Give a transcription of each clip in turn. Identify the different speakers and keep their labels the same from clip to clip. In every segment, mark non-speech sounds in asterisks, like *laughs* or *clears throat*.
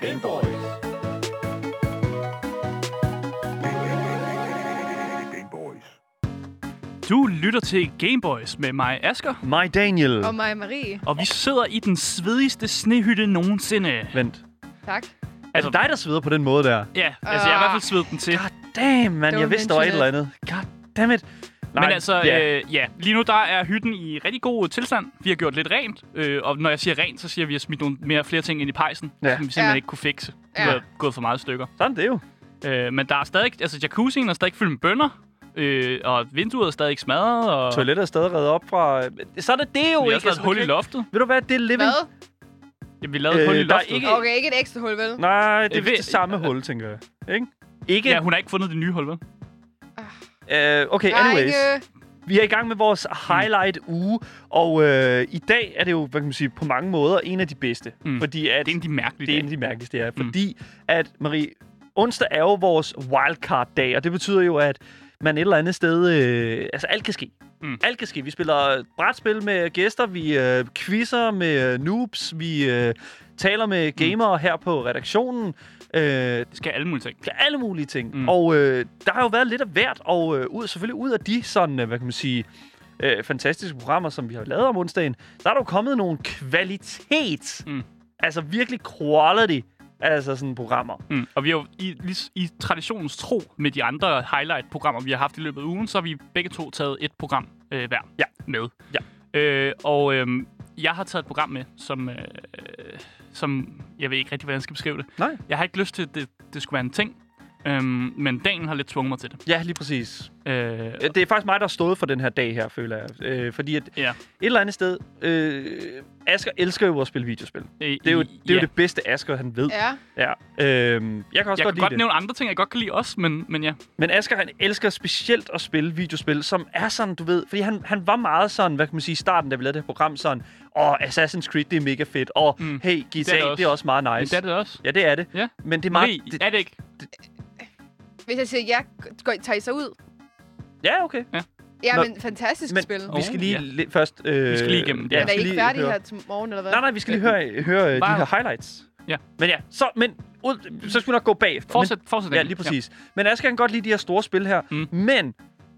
Speaker 1: Gameboys.
Speaker 2: Du lytter til Gameboys med mig, Asker.
Speaker 3: My Daniel.
Speaker 4: Og mig, Marie.
Speaker 2: Og vi sidder i den svedigste snehytte nogensinde.
Speaker 3: Vent.
Speaker 4: Tak.
Speaker 3: Er det dig, der sveder på den måde der?
Speaker 2: Ja, altså jeg har i hvert fald svedet den til.
Speaker 3: Ah, God damn, man. Jeg
Speaker 4: Don't
Speaker 3: vidste, der var et
Speaker 4: mention
Speaker 3: eller andet. God damn it.
Speaker 2: Men altså,
Speaker 3: ja.
Speaker 2: øh, ja. lige nu der er hytten i rigtig god tilstand. Vi har gjort lidt rent. Øh, og når jeg siger rent, så siger jeg, at vi har smidt nogle mere flere ting ind i pejsen,
Speaker 3: Ja.
Speaker 2: ja. som vi simpelthen
Speaker 4: Ja.
Speaker 2: ja. ikke kunne fikse. Ja.
Speaker 4: Ja.
Speaker 2: Vi har gået for meget i stykker.
Speaker 3: Sådan det er jo.
Speaker 2: Øh, men der er stadig, altså jacuzzien er stadig fyldt med bønder. Øh, og vinduet er stadig smadret. Og
Speaker 3: Toilettet er stadig reddet op fra... Sådan er det jo
Speaker 2: vi har
Speaker 3: ikke. altså,
Speaker 2: også lavet et hul i
Speaker 3: okay.
Speaker 2: loftet.
Speaker 3: Ved du hvad, det er living.
Speaker 4: Hvad?
Speaker 2: Ja, vi lavede et hul
Speaker 3: Øh,
Speaker 2: i
Speaker 3: der er
Speaker 2: loftet.
Speaker 3: ikke-
Speaker 4: Okay, ikke et ekstra hul, vel?
Speaker 3: Nej, det er
Speaker 2: Øh, ved-
Speaker 3: vist det samme hul, tænker jeg. Ikke? Ikke?
Speaker 2: Ja, hun har ikke fundet det nye hul, vel?
Speaker 3: Øh, okay,
Speaker 4: Der er
Speaker 3: anyways.
Speaker 4: ikke, øh,
Speaker 3: Vi er i gang med vores highlight-uge, og øh, i dag er det jo, hvad kan man sige, på mange måder en af de bedste.
Speaker 2: Mm.
Speaker 3: Fordi at
Speaker 2: Det er en af de mærkelige
Speaker 3: det er en
Speaker 2: dage.
Speaker 3: af de mærkeligste, ja.
Speaker 2: Mm.
Speaker 3: Fordi at, Marie, onsdag er jo vores wildcard-dag, og det betyder jo, at man et eller andet sted... Øh, altså, alt kan ske.
Speaker 2: Mm.
Speaker 3: Alt kan ske. Vi spiller brætspil med gæster, vi øh, quizzer med øh, noobs, vi øh, taler med gamere
Speaker 2: Mm.
Speaker 3: her på redaktionen. Øh,
Speaker 2: Det skal alle mulige ting.
Speaker 3: til alle mulige ting. Mm.
Speaker 2: Mm.
Speaker 3: Og øh, der har jo været lidt af hvert, og øh, ud, selvfølgelig ud af de sådan, øh, hvad kan man sige, øh, fantastiske programmer, som vi har lavet om onsdagen, så er der jo kommet nogle kvalitet, mm.
Speaker 2: Mm.
Speaker 3: altså virkelig quality, altså sådan programmer.
Speaker 2: Mm. Og vi har jo i, lige- i traditionens tro med de andre highlight-programmer, vi har haft i løbet af ugen, så har vi begge to taget et program øh, hver
Speaker 3: Ja.
Speaker 2: med.
Speaker 3: Ja.
Speaker 2: Øh, og øh, jeg har taget et program med, som, øh, øh, som... Jeg ved ikke rigtig, hvordan jeg skal beskrive det.
Speaker 3: Nej.
Speaker 2: Jeg har ikke lyst til, at det, det skulle være en ting, øh, men dagen har lidt tvunget mig til det.
Speaker 3: Ja, lige præcis.
Speaker 2: Øh,
Speaker 3: Øh, Det er faktisk mig, der har stået for den her dag her, føler jeg. Øh, fordi at
Speaker 2: ja.
Speaker 3: et eller andet sted, øh, Asger elsker jo at spille videospil. Det er jo det, er jo
Speaker 2: ja.
Speaker 3: det bedste, Asger han ved.
Speaker 4: ja.
Speaker 3: Ja. Øh, jeg kan også
Speaker 2: Jeg
Speaker 3: godt
Speaker 2: kan
Speaker 3: lide
Speaker 2: godt
Speaker 3: det.
Speaker 2: nævne andre ting, jeg godt kan lide også, men, men ja.
Speaker 3: Men Asger, han elsker specielt at spille videospil, som er sådan, du ved... Fordi han, han var meget sådan, hvad kan man sige, i starten, da vi lavede det her program, sådan... Åh, Assassin's Creed, det er mega fedt. Og mm.
Speaker 2: Mm.
Speaker 3: hey, GTA, det er, det,
Speaker 2: også.
Speaker 3: også. meget nice.
Speaker 2: Men det er det også.
Speaker 3: Ja, det er det.
Speaker 2: Ja.
Speaker 3: Men det er meget...
Speaker 2: Marie,
Speaker 3: det,
Speaker 2: er det ikke?
Speaker 4: Hvis jeg siger ja, går, tager I så ud?
Speaker 3: ja, okay.
Speaker 4: Ja,
Speaker 3: Nå,
Speaker 4: men fantastisk
Speaker 3: Men
Speaker 4: spil.
Speaker 3: vi
Speaker 2: Åh,
Speaker 3: skal lige
Speaker 2: ja.
Speaker 3: li- først... Øh,
Speaker 2: Vi skal lige igennem det.
Speaker 4: Ja,
Speaker 2: Ja,
Speaker 4: er I
Speaker 3: skal
Speaker 4: ikke
Speaker 3: lige
Speaker 4: færdige
Speaker 3: høre-
Speaker 4: her til morgen, eller hvad?
Speaker 3: Nej, nej, vi skal lige høre, høre øh, de
Speaker 2: Bare-
Speaker 3: her highlights.
Speaker 2: Ja.
Speaker 3: Men ja, så, men, ud, så skal vi nok gå bagefter. Men-
Speaker 2: Fortsæt, fortsæt
Speaker 3: Ja,
Speaker 2: den.
Speaker 3: lige præcis. Ja. Men Asger kan godt lide de her store spil her. Mm.
Speaker 2: Mm.
Speaker 3: Men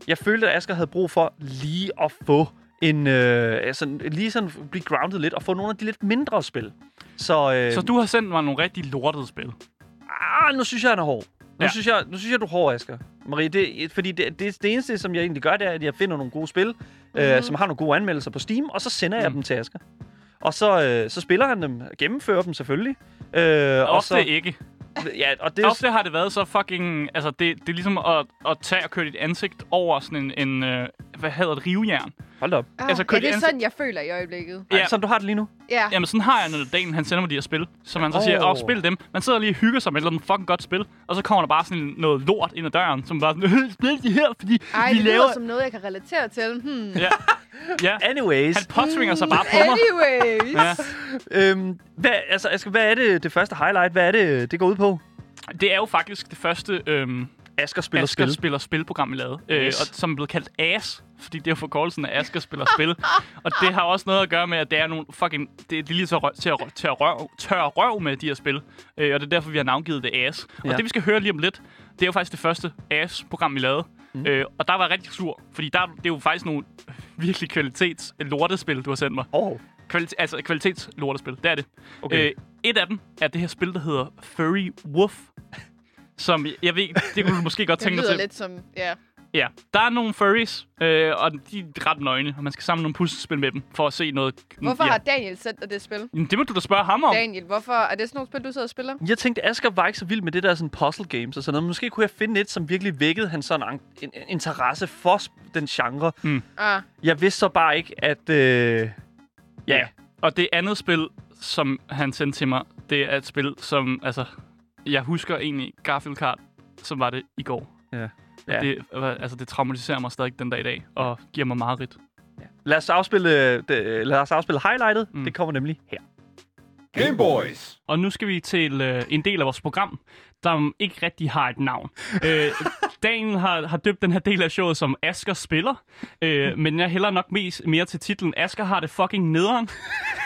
Speaker 3: jeg følte, at Asger havde brug for lige at få en... Øh, altså, lige sådan blive grounded lidt og få nogle af de lidt mindre spil. Så, øh,
Speaker 2: Så du har sendt mig nogle rigtig lortede spil.
Speaker 3: ah, nu synes jeg, han er hård. Nu, ja.
Speaker 2: Ja.
Speaker 3: synes jeg, nu synes jeg, du er hård, Asger. Marie, det, fordi det, det, det eneste, som jeg egentlig gør, det er, at jeg finder nogle gode spil, øh, som har nogle gode anmeldelser på Steam, og så sender jeg
Speaker 2: Mm.
Speaker 3: dem til Asger. Og så, øh, så spiller han dem, gennemfører dem selvfølgelig. Øh, og
Speaker 2: Ofte
Speaker 3: så,
Speaker 2: ikke.
Speaker 3: ja, og det,
Speaker 2: Ofte har det været så fucking... Altså, det, det er ligesom at, at tage og køre dit ansigt over sådan en... en øh, hvad hedder det? Rivejern.
Speaker 3: hold da op.
Speaker 4: Ah,
Speaker 2: altså,
Speaker 4: altså,
Speaker 2: kører
Speaker 4: ja,
Speaker 2: de
Speaker 4: det er
Speaker 2: ansigt-
Speaker 4: sådan, jeg føler i øjeblikket.
Speaker 3: Ja.
Speaker 2: Ja.
Speaker 3: Ej, som du har det lige nu.
Speaker 4: Ja.
Speaker 2: Jamen, sådan har jeg, når Daniel han sender mig de her spil. Så man så siger,
Speaker 3: Åh.
Speaker 2: åh, spil dem. Man sidder lige og hygger sig med et eller andet fucking godt spil. Og så kommer der bare sådan noget lort ind ad døren, som bare sådan, "Øh, spil de her, fordi
Speaker 4: Ej,
Speaker 2: vi
Speaker 4: det
Speaker 2: laver...
Speaker 4: lyder som noget, jeg kan relatere til. Hmm.
Speaker 2: Ja. ja.
Speaker 3: Anyways.
Speaker 2: Han påtvinger sig
Speaker 4: *laughs*
Speaker 2: bare på mig.
Speaker 4: Anyways.
Speaker 2: Ja.
Speaker 3: Øhm, hvad, altså, Asger, hvad er det, det første highlight? Hvad er det, det går ud på?
Speaker 2: Det er jo faktisk det første... Øhm,
Speaker 3: Asger spiller
Speaker 2: Asker
Speaker 3: spil.
Speaker 2: spiller spilprogram, vi lavede, øh,
Speaker 3: Yes.
Speaker 2: og som er blevet kaldt AS, fordi det er jo forkortelsen af Asker
Speaker 3: *laughs*
Speaker 2: spiller spil. og det har også noget at gøre med, at det er nogle fucking... Det, det er lige så røv, til at, rø- til at røv, tør røv med de her spil, øh, og det er derfor, vi har navngivet det AS. Og
Speaker 3: Ja.
Speaker 2: det, vi skal høre lige om lidt, det er jo faktisk det første AS-program, vi lavede. Mm. Øh, og der var jeg rigtig sur, fordi der, det er jo faktisk nogle virkelig kvalitets lortespil, du har sendt mig.
Speaker 3: Åh, oh,
Speaker 2: Kvalit- altså kvalitets lortespil, det er det.
Speaker 3: Okay.
Speaker 2: Øh, et af dem er det her spil, der hedder Furry Wolf. Som, jeg ved, det kunne du måske godt
Speaker 4: Det
Speaker 2: tænke dig
Speaker 4: lyder
Speaker 2: til.
Speaker 4: lidt som... Ja.
Speaker 2: Ja, der er nogle furries, øh, og de er ret nøgne, og man skal samle nogle puslespil med dem for at se noget.
Speaker 4: Hvorfor
Speaker 2: ja.
Speaker 4: har Daniel sendt dig det spil?
Speaker 2: Jamen, Det må du da spørge ham om.
Speaker 4: Daniel, hvorfor... Er det sådan nogle spil, du sidder og spiller?
Speaker 3: jeg tænkte, Asger var ikke så vild med det der sådan puzzle games og sådan noget. Måske kunne jeg finde et, som virkelig vækkede hans sådan en, en, en interesse for sp- den genre.
Speaker 4: Ah,
Speaker 3: Jeg vidste så bare ikke, at... Øh, ja,
Speaker 2: Og det andet spil, som han sendte til mig, det er et spil, som, altså, jeg husker egentlig Garfield Kart, som var det i går.
Speaker 3: Ja. Ja.
Speaker 2: Ja. Det, var- altså, det traumatiserer mig stadig den dag i dag, og giver mig meget rigt.
Speaker 3: lad os afspille, øh, det, lad os afspille highlightet. Mm.
Speaker 2: Mm.
Speaker 3: Det kommer nemlig her.
Speaker 1: Gameboys.
Speaker 2: Og nu skal vi til øh, en del af vores program, der ikke rigtig har et navn. Øh, Daniel har, har døbt den her del af showet som Asker spiller, øh, men jeg hælder nok mest, mere til titlen Asker har det fucking nederen.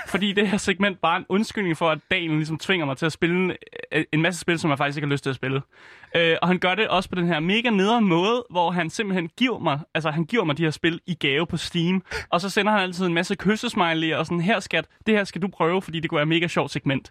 Speaker 2: fordi det her segment bare er en undskyldning for, at dagen ligesom tvinger mig til at spille en, øh, en masse spil, som jeg faktisk ikke har lyst til at spille. Øh, og han gør det også på den her mega nederen måde, hvor han simpelthen giver mig, altså han giver mig de her spil i gave på Steam, og så sender han altid en masse kyssesmiley og sådan, her skat, det her skal du prøve, fordi det kunne være et mega sjovt segment.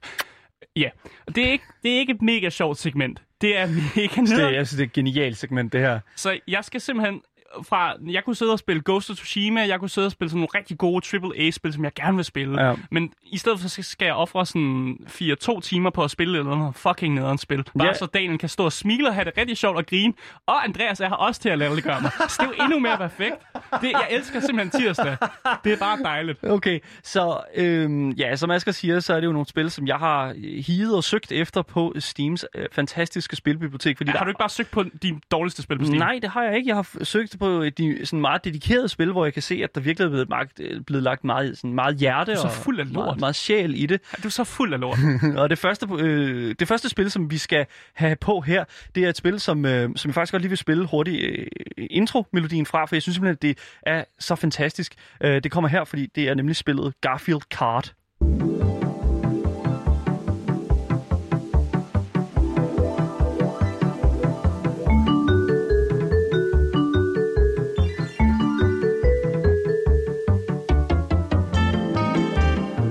Speaker 2: Ja, og det er ikke, det er ikke et mega sjovt segment. Det er mega
Speaker 3: Det,
Speaker 2: nederen.
Speaker 3: er- jeg synes, det er et genialt segment, det her.
Speaker 2: Så jeg skal simpelthen fra, jeg kunne sidde og spille Ghost of Tsushima, jeg kunne sidde og spille sådan nogle rigtig gode AAA-spil, som jeg gerne vil spille.
Speaker 3: Ja.
Speaker 2: Men i stedet for, så skal jeg ofre sådan 4-2 timer på at spille eller noget fucking nederen spil. Bare
Speaker 3: Ja.
Speaker 2: så Daniel kan stå og smile og have det rigtig sjovt og grine. Og Andreas er her også til at lave det gør mig. Så det er jo endnu mere perfekt. Det, jeg elsker simpelthen tirsdag. Det er bare dejligt.
Speaker 3: Okay, så øhm, ja, som Asger siger, så er det jo nogle spil, som jeg har øh, higet og søgt efter på Steams øh, fantastiske spilbibliotek. Fordi
Speaker 2: Har
Speaker 3: der-
Speaker 2: du ikke bare søgt på de dårligste spil på Steam?
Speaker 3: Nej, det har jeg ikke. Jeg har f- søgt på de sådan meget dedikerede spil, hvor jeg kan se, at der virkelig er blevet, magt, øh, blevet lagt meget, sådan meget hjerte
Speaker 2: Du er så
Speaker 3: og
Speaker 2: fuld af lort.
Speaker 3: Meget, meget sjæl i det.
Speaker 2: Du er så fuld af lort.
Speaker 3: *laughs* og det første, øh, det første spil, som vi skal have på her, det er et spil, som, øh, som jeg faktisk godt lige vil spille hurtigt øh, intro-melodien fra, for jeg synes simpelthen, at det er så fantastisk. Øh, det kommer her, fordi det er nemlig spillet Garfield Kart.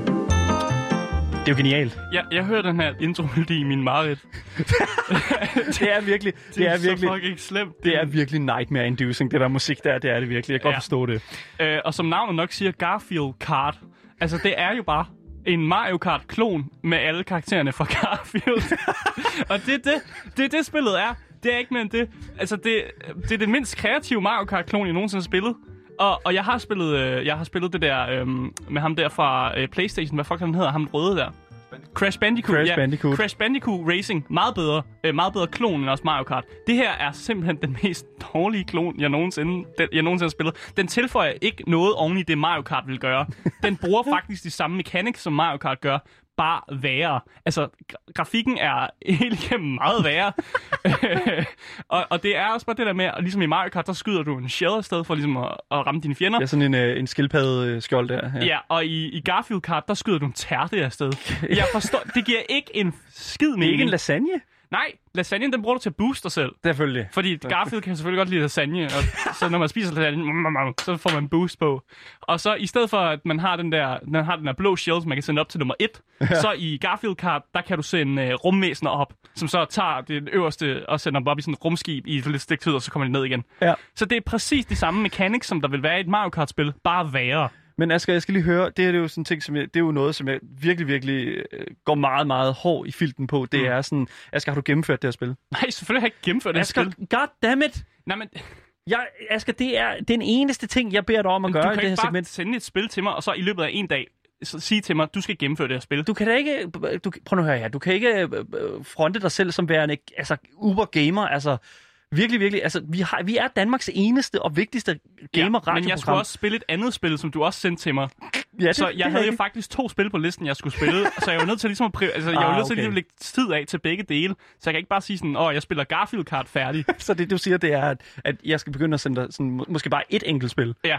Speaker 3: Det er jo genialt.
Speaker 2: Jeg, jeg hører den her intro-melodi i min mareridt.
Speaker 3: Det er virkelig, det er virkelig,
Speaker 2: så fucking slemt.
Speaker 3: det er virkelig nightmare-inducing, det der musik der, det er det virkelig. Jeg kan
Speaker 2: Ja.
Speaker 3: godt forstå det.
Speaker 2: Øh, og som navnet nok siger, Garfield Kart. Altså, det er jo bare en Mario Kart-klon med alle karaktererne fra *laughs* Garfield. og det er det, det er det, spillet er. Det er ikke mere end det. Altså, det, det er det mindst kreative Mario Kart-klon, jeg nogensinde har spillet. Og, og jeg har spillet, øh, jeg har spillet det der øh, med ham der fra øh, Playstation. Hvad fuck han hedder? Ham den røde der. Crash Bandicoot.
Speaker 3: Crash Bandicoot.
Speaker 2: Crash Bandicoot Racing. Meget bedre. Øh, meget bedre klon end også Mario Kart. Det her er simpelthen den mest *laughs* dårlige klon, jeg nogensinde, den, jeg nogensinde har spillet. Den tilføjer ikke noget oven i det, Mario Kart vil gøre. Den
Speaker 3: *laughs*
Speaker 2: bruger faktisk de samme mekanik, som Mario Kart gør. Bare værre. Altså, gra- grafikken er *laughs* helt igennem meget værre. *laughs* Øh, og, og, det er også bare det der med, at ligesom i Mario Kart, der skyder du en shell afsted for ligesom at, at ramme dine fjender.
Speaker 3: Det er sådan en, øh, en skildpadde-skjold der. Ja.
Speaker 2: Ja, og i, i Garfield Kart, der skyder du en tærte
Speaker 3: *laughs*
Speaker 2: afsted. Jeg forstår, det giver ikke en skid
Speaker 3: Det er
Speaker 2: mening.
Speaker 3: ikke en lasagne?
Speaker 2: Nej, lasagnen, den bruger du til at booste dig selv.
Speaker 3: Selvfølgelig.
Speaker 2: Fordi Garfield kan selvfølgelig godt lide lasagne, og så når man spiser lasagne, mm, mm, mm, så får man boost på. Og så i stedet for, at man har den der, man har den der blå shield, som man kan sende op til nummer 1, så i Garfield Kart, der kan du sende uh, rumvæsener op, som så tager det øverste og sender dem op i sådan et rumskib i et lille stik tid, og så kommer de ned igen.
Speaker 3: Ja.
Speaker 2: Så det er præcis de samme mekanik, som der vil være i et Mario Kart-spil, bare værre.
Speaker 3: Men Asger, jeg skal lige høre, det her det er jo sådan en ting, som jeg, det er jo noget, som jeg virkelig, virkelig øh, går meget, meget hård i filten på. Det
Speaker 2: Mm.
Speaker 3: mm. er sådan, Asger, har du gennemført det her spil?
Speaker 2: Nej, selvfølgelig har jeg ikke gennemført det her spil.
Speaker 3: goddammit!
Speaker 2: Nej, men
Speaker 3: Jeg, Asger, det er den eneste ting, jeg beder dig om at
Speaker 2: du
Speaker 3: gøre i
Speaker 2: kan ikke
Speaker 3: det her
Speaker 2: bare
Speaker 3: segment.
Speaker 2: sende et spil til mig, og så i løbet af en dag så sige til mig, du skal gennemføre det her spil.
Speaker 3: Du kan da ikke, du, prøv nu at høre her, du kan ikke øh, øh, fronte dig selv som værende altså, uber-gamer, altså virkelig, virkelig, altså vi, har, vi er Danmarks eneste og vigtigste gamer ja,
Speaker 2: men jeg skulle også spille et andet spil, som du også sendte til mig.
Speaker 3: ja,
Speaker 2: så jeg havde jo faktisk to spil på listen, jeg skulle spille, så jeg var nødt til ligesom at, prior- altså, jeg var
Speaker 3: Ah,
Speaker 2: nødt til
Speaker 3: okay.
Speaker 2: lige at lægge tid af til begge dele. Så jeg kan ikke bare sige sådan, åh, jeg spiller Garfield Kart færdig.
Speaker 3: Så det, du siger, det er, at, at jeg skal begynde at sende dig sådan, må- måske bare et enkelt spil. *laughs*
Speaker 2: Ja.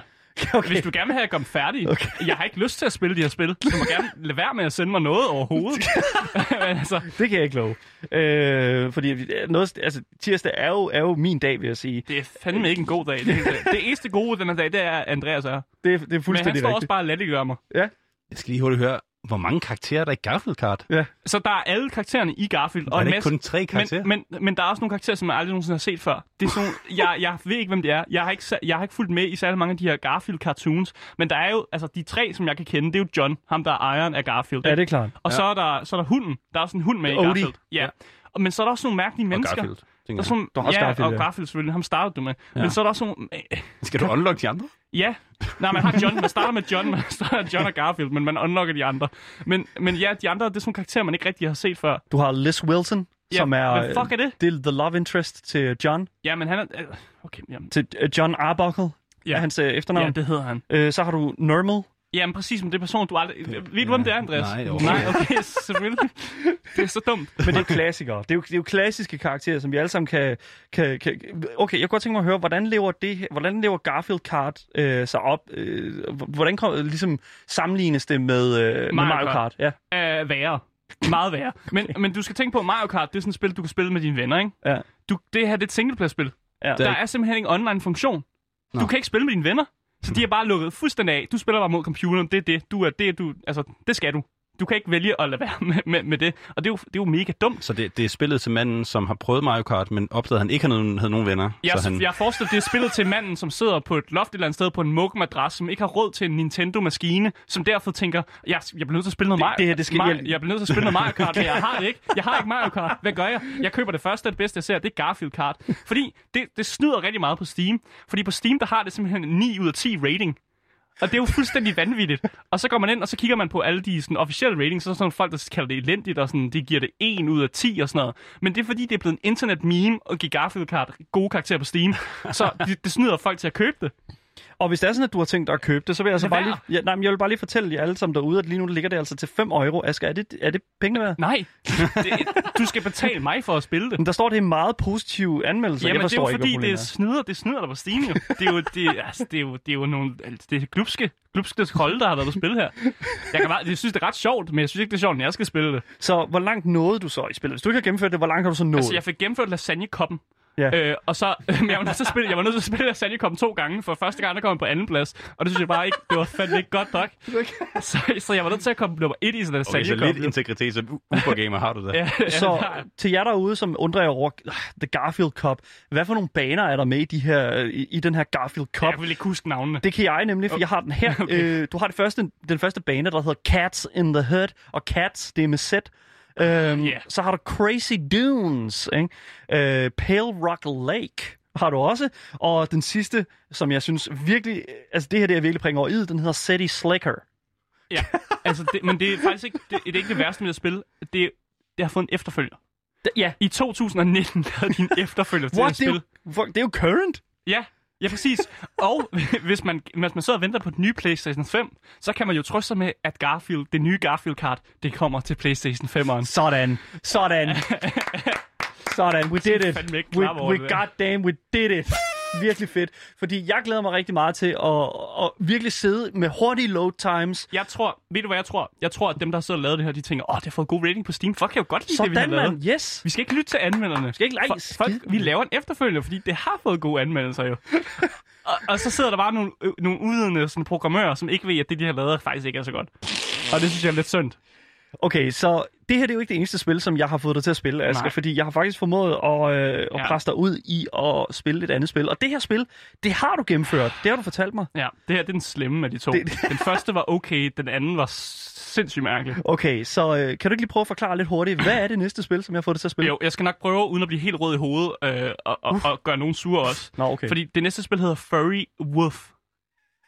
Speaker 2: Okay. Hvis du gerne vil have, at jeg kom færdig. Okay. Jeg har ikke lyst til at spille de her spil. Du må gerne lade være med at sende mig noget overhovedet. men altså,
Speaker 3: Det kan jeg ikke love. Øh, fordi vi- noget, altså, tirsdag er jo, er jo min dag, vil jeg sige.
Speaker 2: det er fandme ikke en god dag. Det, er- det eneste gode ved den her dag, det er, at Andreas er. her.
Speaker 3: Det, det er
Speaker 2: Men han står
Speaker 3: fuldstændig
Speaker 2: også
Speaker 3: rigtigt.
Speaker 2: bare og latterliggør mig.
Speaker 1: Jeg skal lige hurtigt høre, hvor mange karakterer er der i Garfield Kart?
Speaker 2: Så der er alle karaktererne i Garfield.
Speaker 1: Og er
Speaker 2: en
Speaker 1: det ikke
Speaker 2: masse-
Speaker 1: kun tre karakterer?
Speaker 2: Men, men, men der er også nogle karakterer, som jeg aldrig nogensinde har set før. Det er sådan, nogle- jeg, jeg ved ikke, hvem det er. Jeg har ikke, sa- jeg har ikke fulgt med i særlig mange af de her Garfield-cartoons. Men der er jo, altså de tre, som jeg kan kende, det er jo John, ham der er ejeren af Garfield.
Speaker 3: Ja, det er klart.
Speaker 2: Og så, er der, så er der hunden. Der er også en hund med i
Speaker 3: Odie.
Speaker 2: Garfield. Ja. ja. Og, men så er der også nogle mærkelige
Speaker 5: Og
Speaker 2: mennesker.
Speaker 5: Garfield.
Speaker 2: Der
Speaker 5: tænker
Speaker 2: er
Speaker 5: jeg.
Speaker 2: sådan,
Speaker 3: Der er også
Speaker 2: ja,
Speaker 3: Garfield,
Speaker 2: og
Speaker 3: ja.
Speaker 2: Garfield selvfølgelig. Ham startede du med. Ja. Men så er der også nogle... øh,
Speaker 5: Skal du unlock de andre?
Speaker 2: Ja. Nej, man har John. Man starter med John. Man starter med John og Garfield, men man unlocker de andre. Men, men ja, de andre, det er sådan nogle karakterer, man ikke rigtig har set før.
Speaker 3: Du har Liz Wilson,
Speaker 2: Ja,
Speaker 3: som er, øh,
Speaker 2: hvad fuck er det?
Speaker 3: det er The Love Interest til John.
Speaker 2: Ja, men han er... øh, Okay, jamen.
Speaker 3: Til øh, John Arbuckle,
Speaker 2: Ja.
Speaker 3: er hans øh, efternavn.
Speaker 2: Ja, det hedder han.
Speaker 3: Øh, så har du Normal,
Speaker 2: Jamen præcis, men det er person, du aldrig...
Speaker 1: Det-
Speaker 2: Ved du, hvem
Speaker 1: ja.
Speaker 2: det er, Andreas?
Speaker 1: Nej,
Speaker 2: Nej,
Speaker 1: overhovedet
Speaker 2: okay, *laughs* selvfølgelig. Det er så dumt.
Speaker 3: Men det er klassikere. Det er, jo, det er jo klassiske karakterer, som vi alle sammen kan, kan, kan... Okay, jeg kunne godt tænke mig at høre, hvordan lever, det, her- hvordan lever Garfield Kart øh, sig op? Øh, hvordan kom, ligesom sammenlignes det med, øh, Mario, med
Speaker 2: Mario
Speaker 3: Mario Kart?
Speaker 2: Kart.
Speaker 3: Ja.
Speaker 2: Øh, værre. Meget værre. Men, men du skal tænke på, at Mario Kart, det er sådan et spil, du kan spille med dine venner, ikke?
Speaker 3: Ja.
Speaker 2: Du, det her, det er et singleplayer-spil.
Speaker 3: Ja.
Speaker 2: Der er simpelthen ikke online-funktion.
Speaker 1: Nå.
Speaker 2: Du kan ikke spille med dine venner. Så de er bare lukket fuldstændig af. Du spiller bare mod computeren. Det er det. Du er det, du... Altså, det skal du. Du kan ikke vælge at lade være *laughs* med, med, med det. Og det er, jo, det er jo mega dumt.
Speaker 1: Så det, det er spillet til manden, som har prøvet Mario Kart, men opdagede, at han ikke havde nogen, havde nogen venner.
Speaker 2: Jeg,
Speaker 1: så han,
Speaker 2: jeg forestiller, det er spillet til manden, som sidder på et loft et eller andet sted på en mugmadras, som ikke har råd til en Nintendo-maskine, som derfor tænker, jeg, jeg bliver nødt til at spille noget
Speaker 3: Det-
Speaker 2: Mario,
Speaker 3: det her, det skal
Speaker 2: Mario,
Speaker 3: hjælpe."
Speaker 2: jeg bliver nødt til at spille noget Mario Kart, men jeg har det ikke. Jeg har ikke Mario Kart. Hvad gør jeg? Jeg køber det første og det bedste, jeg ser, det er Garfield Kart. Fordi det, det snyder rigtig meget på Steam. Fordi på Steam, der har det simpelthen en 9 ud af 10 rating. Og det er jo fuldstændig vanvittigt. Og så går man ind, og så kigger man på alle de sådan, officielle ratings, så er der sådan nogle folk, der kalder det elendigt, og sådan, de giver det 1 ud af 10 og sådan noget. Men det er fordi, det er blevet en internet meme at give Garfield Kart gode karakterer på Steam. Så det, det snyder folk til at købe det.
Speaker 3: Og hvis det er sådan, at du har tænkt dig at købe det, så vil jeg altså
Speaker 2: Lad
Speaker 3: bare
Speaker 2: være.
Speaker 3: lige, ja, nej, men jeg vil bare lige fortælle jer alle sammen derude, at lige nu ligger det altså til 5 euro. Asger, er det, er det pengene værd?
Speaker 2: Nej, det, du skal betale mig for at spille det.
Speaker 3: Men der står det i meget positive anmeldelser. jeg
Speaker 2: Jamen, det er jo
Speaker 3: forstår ikke,
Speaker 2: fordi, det
Speaker 3: hvad problemet er.
Speaker 2: snyder, det snyder dig på Steam jo. Det er jo, det, altså, det er jo, det er jo nogle, altså, det er glupske, glupske hold, der har været på spil her. Jeg, kan bare, jeg synes, det er ret sjovt, men jeg synes ikke, det er sjovt, når jeg skal spille det.
Speaker 3: Så hvor langt nåede du så i spillet? Hvis du ikke har gennemført det, hvor langt har du så nået?
Speaker 2: Altså, jeg fik gennemført lasagnekoppen.
Speaker 3: Ja.
Speaker 2: Ja. Øh, og så, *laughs* men jeg var nødt til at spille, jeg var nødt til at spille lasagnekoppen to gange, for første gang, der kom jeg på anden plads. Og det synes jeg bare ikke, det var fandme ikke godt nok. Så, så jeg var nødt til at komme nummer et i sådan en
Speaker 1: okay, så
Speaker 2: lasagnekoppen.
Speaker 1: lidt integritet som u- Ubergamer har du der.
Speaker 2: ja, ja,
Speaker 3: Så
Speaker 2: der-
Speaker 3: til jer derude, som undrer jer over ah, The Garfield Cup, hvad for nogle baner er der med i, de her, i, i den her Garfield Cup?
Speaker 2: Jeg vil ikke huske navnene.
Speaker 3: Det kan jeg nemlig, for jeg har den her. *laughs* Okay.
Speaker 2: Okay.
Speaker 3: Øh, du har det første, den første bane, der hedder Cats in the Hood, og Cats, det er med Z. Øhm,
Speaker 2: Ja.
Speaker 3: Så har du Crazy Dunes, ikke? Øh, Pale Rock Lake har du også. Og den sidste, som jeg synes virkelig, altså det her, det er virkelig prikker over i, den hedder City Slicker.
Speaker 2: Ja, altså, det, men det er faktisk ikke det, det, er ikke det værste med at spille. Det, det har fået en efterfølger.
Speaker 3: D- ja.
Speaker 2: I 2019 havde din efterfølger til
Speaker 3: What?
Speaker 2: at
Speaker 3: Det er, jo,
Speaker 2: spille.
Speaker 3: fuck, det er jo current.
Speaker 2: Ja, ja præcis. Og *laughs* hvis man, hvis man sidder og venter på den nye PlayStation 5, så kan man jo trøste sig med, at Garfield, det nye Garfield-kart, det kommer til PlayStation 5'eren.
Speaker 3: Sådan. Sådan. Sådan. We did it.
Speaker 2: fandme ikke
Speaker 3: We,
Speaker 2: klar over
Speaker 3: we
Speaker 2: det der.
Speaker 3: goddamn, we did it. Virkelig fedt. Fordi jeg glæder mig rigtig meget til at, at virkelig sidde med hurtige load times.
Speaker 2: Jeg tror, ved du hvad jeg tror? Jeg tror, at dem, der sidder og lavet det her, de tænker, åh, oh, det har fået god rating på Steam. Fuck, jeg kan jo godt lide det, vi har
Speaker 3: Sådan,
Speaker 2: lavet.
Speaker 3: man. Yes.
Speaker 2: Vi skal ikke lytte til anmelderne. Vi skal
Speaker 3: ikke lege
Speaker 2: folk,
Speaker 3: skid.
Speaker 2: Vi laver en efterfølger, fordi det har fået gode anmeldelser
Speaker 3: *laughs*
Speaker 2: jo. og, og, så sidder der bare nogle, øh, nogle udvidende sådan, programmører, som ikke ved, at det, de har lavet, faktisk ikke er så godt. Og det synes jeg er lidt synd.
Speaker 3: Okay, så det her det er jo ikke det eneste spil, som jeg har fået dig til at spille, Asger,
Speaker 2: Nej.
Speaker 3: fordi jeg har faktisk formået at, øh, at
Speaker 2: Ja.
Speaker 3: presse dig ud i at spille et andet spil. Og det her spil, det har du gennemført. Det har du fortalt mig.
Speaker 2: Ja, det her det er den slemme af de to.
Speaker 3: Det-
Speaker 2: Den første var okay, den anden var sindssygt mærkelig.
Speaker 3: Okay, så øh, kan du ikke lige prøve at forklare lidt hurtigt, hvad er det næste spil, som jeg har fået dig til at spille?
Speaker 2: Jo, jeg skal nok prøve, uden at blive helt rød i hovedet, øh, og, og, og gøre nogen sure også.
Speaker 3: Nå, okay.
Speaker 2: Fordi det næste spil hedder Furry Wolf.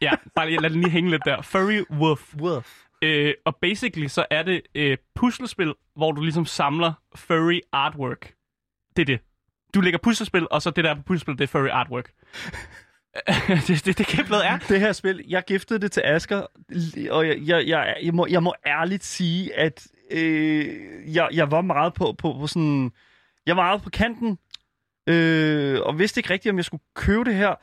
Speaker 2: Ja, bare lige, lad den lige hænge lidt der. Furry Wolf.
Speaker 3: Wolf.
Speaker 2: Øh, og basically så er det øh, puslespil, hvor du ligesom samler furry artwork. Det er det. Du lægger puslespil, og så det der er på puslespil, det er furry artwork. *laughs* det, det, det kæblet er.
Speaker 3: *laughs* Det her spil, jeg giftede det til Asker, og jeg, jeg, jeg, jeg, må, jeg må ærligt sige, at øh, jeg, jeg var meget på, på, på sådan... Jeg var meget på kanten, øh, og vidste ikke rigtigt, om jeg skulle købe det her.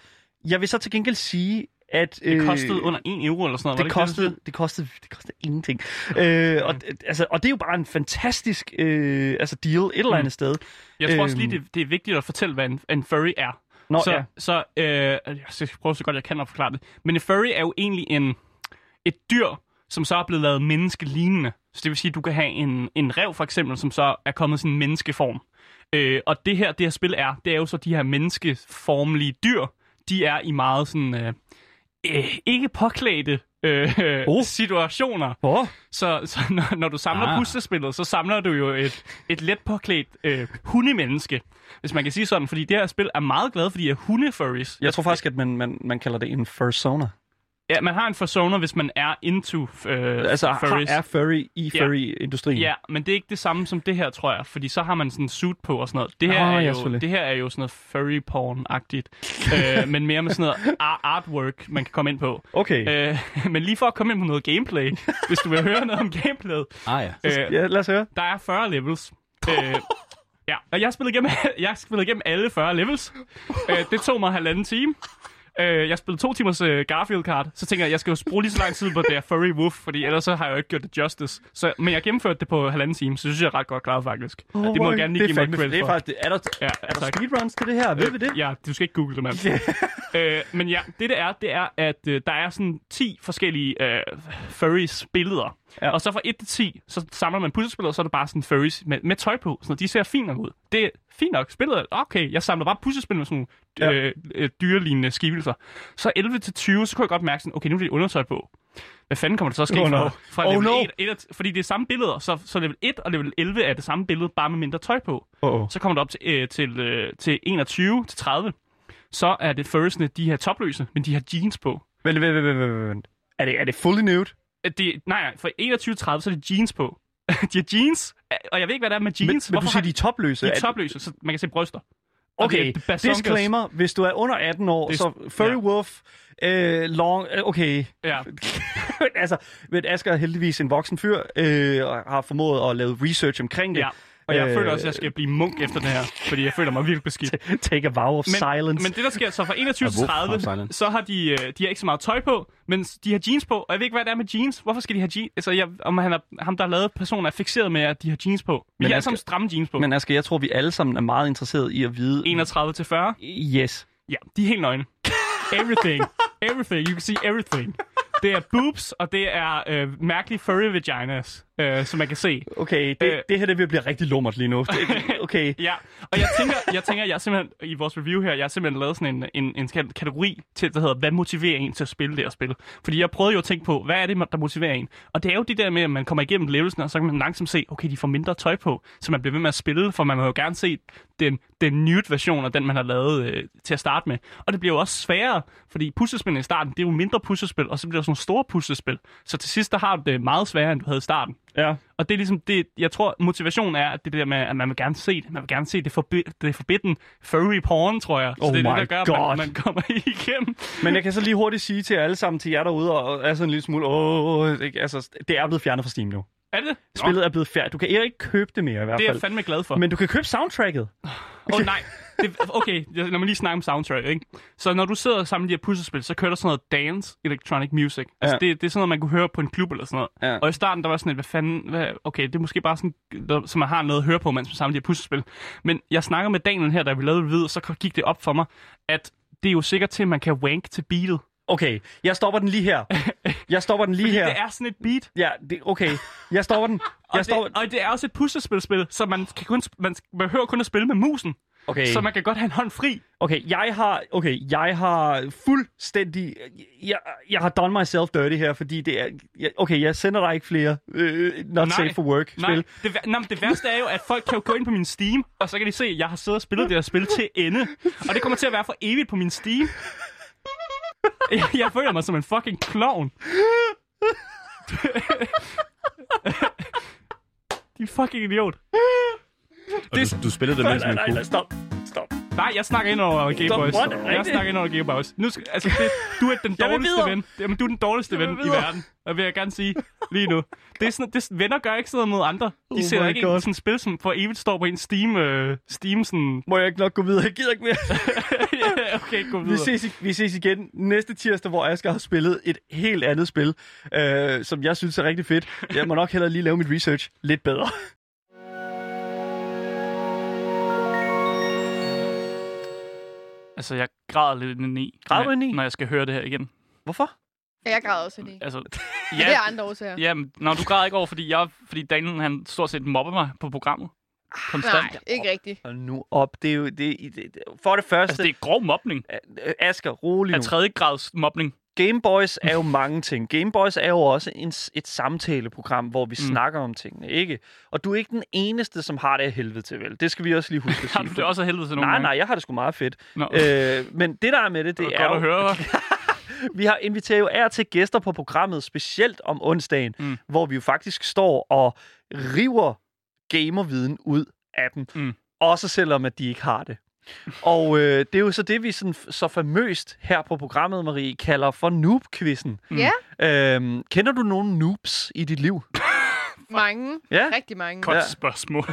Speaker 3: Jeg vil så til gengæld sige, at... Øh,
Speaker 2: Det kostede under 1 euro eller sådan noget. var
Speaker 3: det
Speaker 2: ikke du
Speaker 3: kostede, det, kostede, det kostede ingenting. Øh, og, altså, og det er jo bare en fantastisk øh, altså deal et eller andet
Speaker 2: Mm.
Speaker 3: sted.
Speaker 2: Jeg tror også
Speaker 3: Øhm.
Speaker 2: lige, det, det er vigtigt at fortælle, hvad en, en furry er.
Speaker 3: Nå,
Speaker 2: så
Speaker 3: ja.
Speaker 2: så øh, jeg skal prøve så godt, jeg kan at forklare det. Men en furry er jo egentlig en, et dyr, som så er blevet lavet menneskelignende. Så det vil sige, at du kan have en, en rev for eksempel, som så er kommet i sådan en menneskeform. Øh, og det her, det her spil er, det er jo så de her menneskeformlige dyr, de er i meget sådan øh, øh, ikke påklædte øh,
Speaker 3: Oh.
Speaker 2: oh. situationer.
Speaker 3: Hvor?
Speaker 2: Så, så *laughs* når, når du samler
Speaker 1: Ah.
Speaker 2: ah. puslespillet, så samler du jo et, et let påklædt øh, hundemenneske, hvis man kan sige sådan. Fordi det her spil er meget glad, fordi de er hundefurries.
Speaker 3: Jeg tror faktisk, at man, man, man kalder det en fursona.
Speaker 2: Ja, man har en persona, hvis man er into øh,
Speaker 3: Altså,
Speaker 2: furries.
Speaker 3: har, er furry i furry-industrien.
Speaker 2: Ja, men det er ikke det samme som det her, tror jeg. Fordi så har man sådan en suit på og sådan noget. Det her,
Speaker 3: Nå,
Speaker 2: er,
Speaker 3: ja,
Speaker 2: jo,
Speaker 3: selvfølgelig.
Speaker 2: det her er jo sådan noget furry porn-agtigt.
Speaker 3: *laughs*
Speaker 2: øh, men mere med sådan noget ar- artwork, man kan komme ind på.
Speaker 3: Okay,
Speaker 2: Øh, *laughs* men lige for at komme ind på noget gameplay, hvis du vil høre noget om gameplayet.
Speaker 1: Ah ja.
Speaker 2: Øh,
Speaker 3: ja, lad os høre.
Speaker 2: der er 40
Speaker 3: *laughs*
Speaker 2: levels. Øh, ja, og jeg har spillet igennem, *laughs* jeg har spillet igennem alle 40 levels. Øh, det tog mig halvanden time. Øh, jeg spillede to timers øh, Garfield-kart, så tænker jeg, jeg skal jo bruge lige så lang tid på det her Furry Wolf, fordi ellers så har jeg jo ikke gjort det justice. Så, men jeg gennemførte det på halvanden time, så synes jeg, jeg er ret godt klaret faktisk. Oh, det må jeg gerne lige
Speaker 3: det er
Speaker 2: give mig
Speaker 3: fandme-
Speaker 2: credit
Speaker 3: det er
Speaker 2: for.
Speaker 3: faktisk, er der,
Speaker 2: Ja,
Speaker 3: er der
Speaker 2: tak. Øh,
Speaker 3: speedruns til det her? Ved vi det?
Speaker 2: Ja, du skal ikke google det, mand. *laughs* øh, men ja, det det er, det er, at øh, der er sådan 10 forskellige øh, furries billeder.
Speaker 3: Ja.
Speaker 2: Ja. Og så fra 1 til 10, så samler man puslespillet, og så er det bare sådan furries med, med tøj på. Så de ser fint nok ud. Det er fint nok. Spillet er okay. Jeg samler bare puslespil med sådan
Speaker 3: Ja.
Speaker 2: nogle øh, øh, dyrelignende skivelser. Så 11 til 20, så kunne jeg godt mærke sådan, okay, nu er det undertøj på. Hvad fanden kommer der så at ske
Speaker 3: Oh, no.
Speaker 2: fra, fra
Speaker 3: Oh,
Speaker 2: level
Speaker 3: no.
Speaker 2: 1, 1? Fordi det er samme billeder, så, så level 1 og level 11 er det samme billede, bare med mindre tøj på.
Speaker 3: Oh, oh.
Speaker 2: Så kommer det op til, øh, til, øh, til 21, til 30. Så er det furriesne, de her topløse, men de har jeans på.
Speaker 3: Vent, vent, vent, vent, vent, vent. Er det, er det fully nude?
Speaker 2: Øh, De, nej, nej, for 21-30, så er det jeans på. *laughs* de har jeans, øh, og jeg ved ikke, hvad det er med
Speaker 3: Men,
Speaker 2: jeans.
Speaker 3: men du
Speaker 2: Hvorfor
Speaker 3: siger, de
Speaker 2: har
Speaker 3: er topløse.
Speaker 2: de, de
Speaker 3: Er-
Speaker 2: er topløse, så man kan se bryster. Og
Speaker 3: Okay,
Speaker 2: det er bazoonkas.
Speaker 3: disclaimer. Hvis du er under 18 år,
Speaker 2: Dis-
Speaker 3: så furry
Speaker 2: ja.
Speaker 3: wolf, øh, long... øh, Okay.
Speaker 2: Ja,
Speaker 3: *laughs* altså, men Asger er heldigvis en voksen fyr, øh, og har formået at lave research omkring det.
Speaker 2: ja. Og jeg
Speaker 3: Øh,
Speaker 2: øh, føler også, at jeg skal blive munk efter det her, fordi jeg føler mig virkelig
Speaker 3: *laughs*
Speaker 2: beskidt.
Speaker 3: Take a vow of
Speaker 2: Men,
Speaker 3: silence.
Speaker 2: men det, der sker, så fra 21 til
Speaker 1: Ja, hvorfor har
Speaker 2: 30,
Speaker 1: silence?
Speaker 2: så har de, øh, de har ikke så meget tøj på, men de har jeans på. Og jeg ved ikke, hvad det er med jeans. Hvorfor skal de have jeans? Altså, jeg, om han er, ham, der har lavet personen, er fixeret med, at de har jeans på. Vi
Speaker 3: Men
Speaker 2: har
Speaker 3: jeg
Speaker 2: alle sammen
Speaker 3: skal-
Speaker 2: stramme jeans på.
Speaker 3: men Asger, jeg tror, vi alle sammen er meget interesseret i at vide...
Speaker 2: 31 til 40.
Speaker 3: Yes.
Speaker 2: Ja, de er helt nøgne. Everything. Everything. You can see everything. Det er boobs, og det er øh, mærkelige furry vaginas, øh, som man kan se.
Speaker 3: Okay, det, øh,
Speaker 2: Øh.
Speaker 3: det her det vil blive rigtig lummert lige nu. Det-
Speaker 2: *laughs*
Speaker 3: Okay.
Speaker 2: Ja, og jeg tænker, jeg tænker, jeg har simpelthen, i vores review her, jeg har simpelthen lavet sådan en, en, en kate- kategori til, der hedder, hvad motiverer en til at spille det her spil? Fordi jeg prøvede jo at tænke på, hvad er det, man- der motiverer en? Og det er jo det der med, at man kommer igennem levelsen, og så kan man langsomt se, okay, de får mindre tøj på, så man bliver ved med at spille, for man vil jo gerne se den, den nye version af den, man har lavet øh, til at starte med. Og det bliver jo også sværere, fordi puslespillene i starten, det er jo mindre puslespil, og så bliver der sådan nogle store puslespil. Så til sidst, der har du det meget sværere, end du havde i starten.
Speaker 3: Ja.
Speaker 2: Og det er ligesom det, jeg tror, motivationen er at det der med, at man vil gerne se det. Man vil gerne se det, forbi, det forbidden furry porn, tror jeg. Så
Speaker 3: Oh
Speaker 2: det er
Speaker 3: my
Speaker 2: det, der gør,
Speaker 3: God.
Speaker 2: at man, man kommer *laughs* igennem.
Speaker 3: Men jeg kan så lige hurtigt sige til jer alle sammen, til jer derude, og- og er sådan en lille smule, åh, åh, ikke? altså, det er blevet fjernet fra Steam nu.
Speaker 2: Er det? det? Nå,
Speaker 3: Spillet er blevet fjernet. Du kan ikke købe det mere i hvert
Speaker 2: det er jeg
Speaker 3: fald.
Speaker 2: fandme glad for. Åh
Speaker 3: Men du kan købe soundtracket.
Speaker 2: oh, nej. Det, okay, jeg- lad mig lige snakke om soundtrack, ikke? Så når du sidder sammen med de her puslespil, så kører der sådan noget dance electronic music. Altså,
Speaker 3: Ja.
Speaker 2: det, det er sådan noget, man kunne høre på en klub eller sådan noget.
Speaker 3: Ja.
Speaker 2: Og i starten, der var sådan et, hvad fanden, hvad, okay, det er måske bare sådan, der- så man har noget at høre på, mens man samler de her puslespil. Men jeg snakker med Daniel her, da vi lavede vid, så gik det op for mig, at det er jo sikkert til, at man kan wank til beatet.
Speaker 3: Okay, jeg stopper den lige her.
Speaker 2: *laughs*
Speaker 3: Jeg stopper den lige her.
Speaker 2: Det er sådan et beat.
Speaker 3: Ja, det, okay. Jeg stopper den.
Speaker 2: Og,
Speaker 3: Jeg stopper...
Speaker 2: det, og det er også et puslespilspil, så man, kan kun, man behøver kun at spille med musen.
Speaker 3: Okay.
Speaker 2: Så man kan godt have en hånd fri.
Speaker 3: Okay, jeg har, okay, jeg har fuldstændig, jeg, jeg har done myself dirty her, fordi det er, jeg, okay, jeg sender dig ikke flere øh, not
Speaker 2: Nej.
Speaker 3: safe for work
Speaker 2: Nej,
Speaker 3: spil.
Speaker 2: det, vær- nå, men det værste er jo, at folk kan jo gå ind på min Steam, og så kan de se, at jeg har siddet og spillet det her spil til ende. Og det kommer til at være for evigt på min Steam. Jeg, jeg føler mig som en fucking clown. *laughs* De er fucking idiot.
Speaker 1: Og du, du spillede det, mens man
Speaker 3: nej, nej,
Speaker 1: kunne.
Speaker 3: stop, stop.
Speaker 2: Nej, jeg snakker ind over Game
Speaker 3: Stop,
Speaker 2: Boys.
Speaker 3: what? Er det
Speaker 2: Jeg
Speaker 3: det?
Speaker 2: snakker ind over Game Boys. Nu skal, altså, det, du er den
Speaker 3: Jeg vil
Speaker 2: dårligste
Speaker 3: videre.
Speaker 2: ven. Jamen, du er den dårligste
Speaker 3: vil
Speaker 2: ven i
Speaker 3: videre.
Speaker 2: verden. Og vil jeg gerne sige lige nu. Det er sådan, det, venner gør ikke sådan noget mod andre. De
Speaker 3: Oh
Speaker 2: oh sætter
Speaker 3: my
Speaker 2: ikke
Speaker 3: God.
Speaker 2: en sådan spil, som for evigt står på en Steam, øh, Steam
Speaker 3: *laughs*
Speaker 2: sådan...
Speaker 3: Må jeg ikke nok gå videre? Jeg gider ikke mere. *laughs*
Speaker 2: Ja, okay, gå
Speaker 3: Vi
Speaker 2: videre.
Speaker 3: ses, i- vi ses igen næste tirsdag, hvor Asger har spillet et helt andet spil, øh, som jeg synes er rigtig fedt. Jeg må nok hellere lige lave mit research lidt bedre.
Speaker 5: Altså, jeg græder lidt indeni.
Speaker 3: Græder
Speaker 5: når
Speaker 3: du
Speaker 5: jeg-
Speaker 3: indeni?
Speaker 5: Når jeg skal høre det her igen.
Speaker 3: *laughs* Hvorfor?
Speaker 4: Ja, jeg græder også lige.
Speaker 5: Altså,
Speaker 4: Ja. Det
Speaker 5: ja,
Speaker 4: er andre årsager.
Speaker 5: ja men, når du græder ikke over, fordi, jeg, fordi Daniel, han stort set mobber mig på programmet.
Speaker 3: Ah,
Speaker 5: Konstant.
Speaker 4: Nej, ikke rigtigt.
Speaker 3: Hold nu op. Det er jo, det, det, det- for det første,
Speaker 5: Altså, det er grov mobning.
Speaker 3: det... Asger, rolig
Speaker 5: Af
Speaker 3: nu.
Speaker 5: tredje grads mobning.
Speaker 3: Game Boys er jo *laughs* mange ting. Game Boys er jo også en, s- et samtaleprogram, hvor vi mm. snakker om tingene, ikke? Og du er ikke den eneste, som har det af helvede til, vel? Det skal vi også lige huske
Speaker 5: *laughs*
Speaker 3: at
Speaker 5: Har
Speaker 3: sige.
Speaker 5: du *laughs* det også af helvede til nogle
Speaker 3: Nej,
Speaker 5: gange?
Speaker 3: nej, jeg har det sgu meget fedt.
Speaker 5: Nå.
Speaker 3: Øh, men det, der er med det, det
Speaker 5: Det er
Speaker 3: er *laughs*
Speaker 5: godt at
Speaker 3: jo...
Speaker 5: høre.
Speaker 3: vi har inviteret jo er til gæster på programmet, specielt om onsdagen, mm.
Speaker 2: Mm.
Speaker 3: hvor vi jo faktisk står og river gamerviden ud af dem. Mm.
Speaker 2: Mm.
Speaker 3: Også selvom, at de ikke har det. Og øh, det er jo så det, vi sådan, f- så famøst her på programmet, Marie, kalder for noob-quizzen.
Speaker 4: Ja,
Speaker 3: Øhm, kender du nogle noobs i dit liv?
Speaker 4: mange.
Speaker 3: Ja.
Speaker 4: Rigtig mange.
Speaker 2: Godt
Speaker 3: Ja.
Speaker 2: ja. spørgsmål.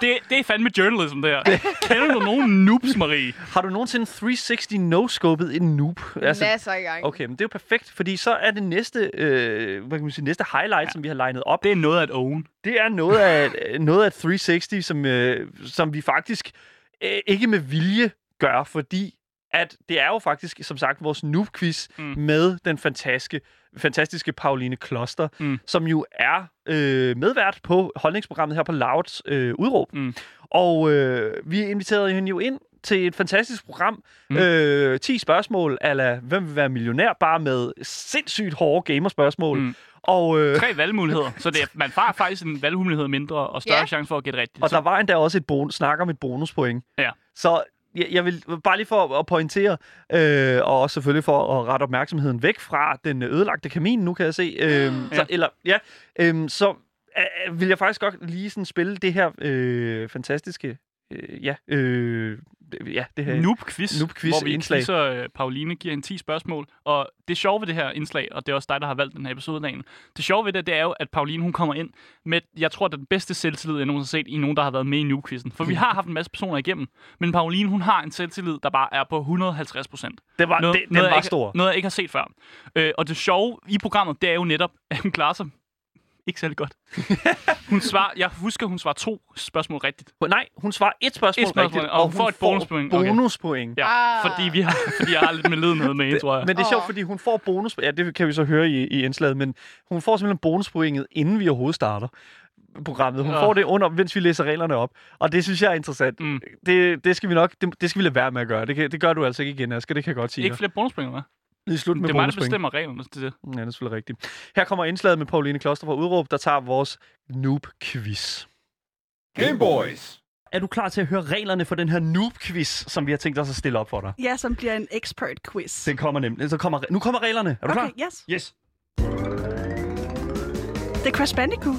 Speaker 2: det, det er fandme journalism, det her. Kender du nogen noobs, Marie?
Speaker 3: Har du nogensinde 360 no-scopet en noob? Altså,
Speaker 4: Masser i gang.
Speaker 3: okay, men det er jo perfekt, fordi så er det næste, øh, hvad kan man sige, næste highlight, ja. som vi har legnet op,
Speaker 2: Det er noget at own.
Speaker 3: det er noget af, noget af 360, som, øh, som vi faktisk øh, ikke med vilje gør, fordi at det er jo faktisk, som sagt, vores noob-quiz mm.
Speaker 2: Mm.
Speaker 3: med den fantastiske, fantastiske Pauline Kloster, mm.
Speaker 2: Mm.
Speaker 3: som jo er øh, medvært på holdningsprogrammet her på Louds øh, udråb. Mm.
Speaker 2: Mm.
Speaker 3: Og øh, vi inviterede hende jo ind til et fantastisk program. Mm. Øh, 10 spørgsmål, ala hvem vil være millionær, bare med sindssygt hårde gamerspørgsmål. Mm.
Speaker 2: Mm.
Speaker 3: Og, øh,
Speaker 2: Tre valgmuligheder. Så det er, man har faktisk en valgmulighed mindre og større
Speaker 4: Ja.
Speaker 2: ja. chance for at gætte rigtigt.
Speaker 3: Og
Speaker 2: Så-
Speaker 3: der var endda også et bonus, snak om et bonuspoint.
Speaker 2: Ja.
Speaker 3: Så jeg, jeg vil bare lige for at- at pointere, øh, og også selvfølgelig for at rette opmærksomheden væk fra den ødelagte kamin, nu kan jeg se. Øh, ja. Så,
Speaker 2: Ja.
Speaker 3: eller, ja, øh, så øh, vil jeg faktisk godt lige sådan spille det her øh, fantastiske, øh, ja, øh, ja, det her.
Speaker 2: Noob quiz,
Speaker 3: Noob quiz
Speaker 2: hvor vi
Speaker 3: indslag.
Speaker 2: quizzer, øh, Pauline giver en 10 spørgsmål. Og det sjove ved det her indslag, og det er også dig, der har valgt den her episode dagen. Det sjove ved det, det er jo, at Pauline hun kommer ind med, jeg tror, den bedste selvtillid, jeg nogensinde har set i nogen, der har været med i Noob quizzen. For vi
Speaker 3: Mm.
Speaker 2: har haft en masse personer igennem, men Pauline hun har en selvtillid, der bare er på 150 procent.
Speaker 3: Det var, Ah, det, den
Speaker 2: jeg
Speaker 3: var
Speaker 2: ikke,
Speaker 3: stor.
Speaker 2: Noget, jeg ikke har set før. Øh, og det sjove i programmet, det er jo netop, *laughs* at hun klarer sig ikke særlig
Speaker 3: *laughs*
Speaker 2: godt. hun svarer, jeg husker, hun svarer to spørgsmål rigtigt.
Speaker 3: Nej, hun svarer et spørgsmål,
Speaker 2: Et spørgsmål,
Speaker 3: rigtigt,
Speaker 2: og hun får et bonuspoint. Okay.
Speaker 3: bonuspoint.
Speaker 2: Ja,
Speaker 4: Ah.
Speaker 2: fordi, vi har, fordi jeg har lidt med leden med hende, tror jeg.
Speaker 3: Men det er sjovt,
Speaker 4: Åh.
Speaker 3: fordi hun får bonus... Ja, det kan vi så høre i, i indslaget, men hun får simpelthen bonuspointet, inden vi overhovedet starter programmet. Hun
Speaker 2: Åh.
Speaker 3: får det under, mens vi læser reglerne op. Og det synes jeg er interessant. Mm.
Speaker 2: Mm.
Speaker 3: Det, det skal vi nok... Det, det skal vi lade være med at gøre. Det, kan, det gør du altså ikke igen, Asger. Det kan jeg godt sige
Speaker 2: Ikke
Speaker 3: dig.
Speaker 2: flere bonuspoint, hva'?
Speaker 3: Det er slut med
Speaker 2: Det er mig, der
Speaker 3: bonuspoint.
Speaker 2: bestemmer reglerne til det.
Speaker 3: Ja, det er selvfølgelig rigtigt. Her kommer indslaget med Pauline Kloster fra Udråb, der tager vores noob-quiz.
Speaker 6: Game Boys.
Speaker 3: Er du klar til at høre reglerne for den her noob-quiz, som vi har tænkt os at stille op for dig?
Speaker 7: Ja, som bliver en expert quiz.
Speaker 3: Den kommer nemlig. Så kommer, nu kommer reglerne. Er du
Speaker 7: okay,
Speaker 3: klar?
Speaker 7: yes.
Speaker 3: Yes.
Speaker 7: Det er Crash Bandicoot.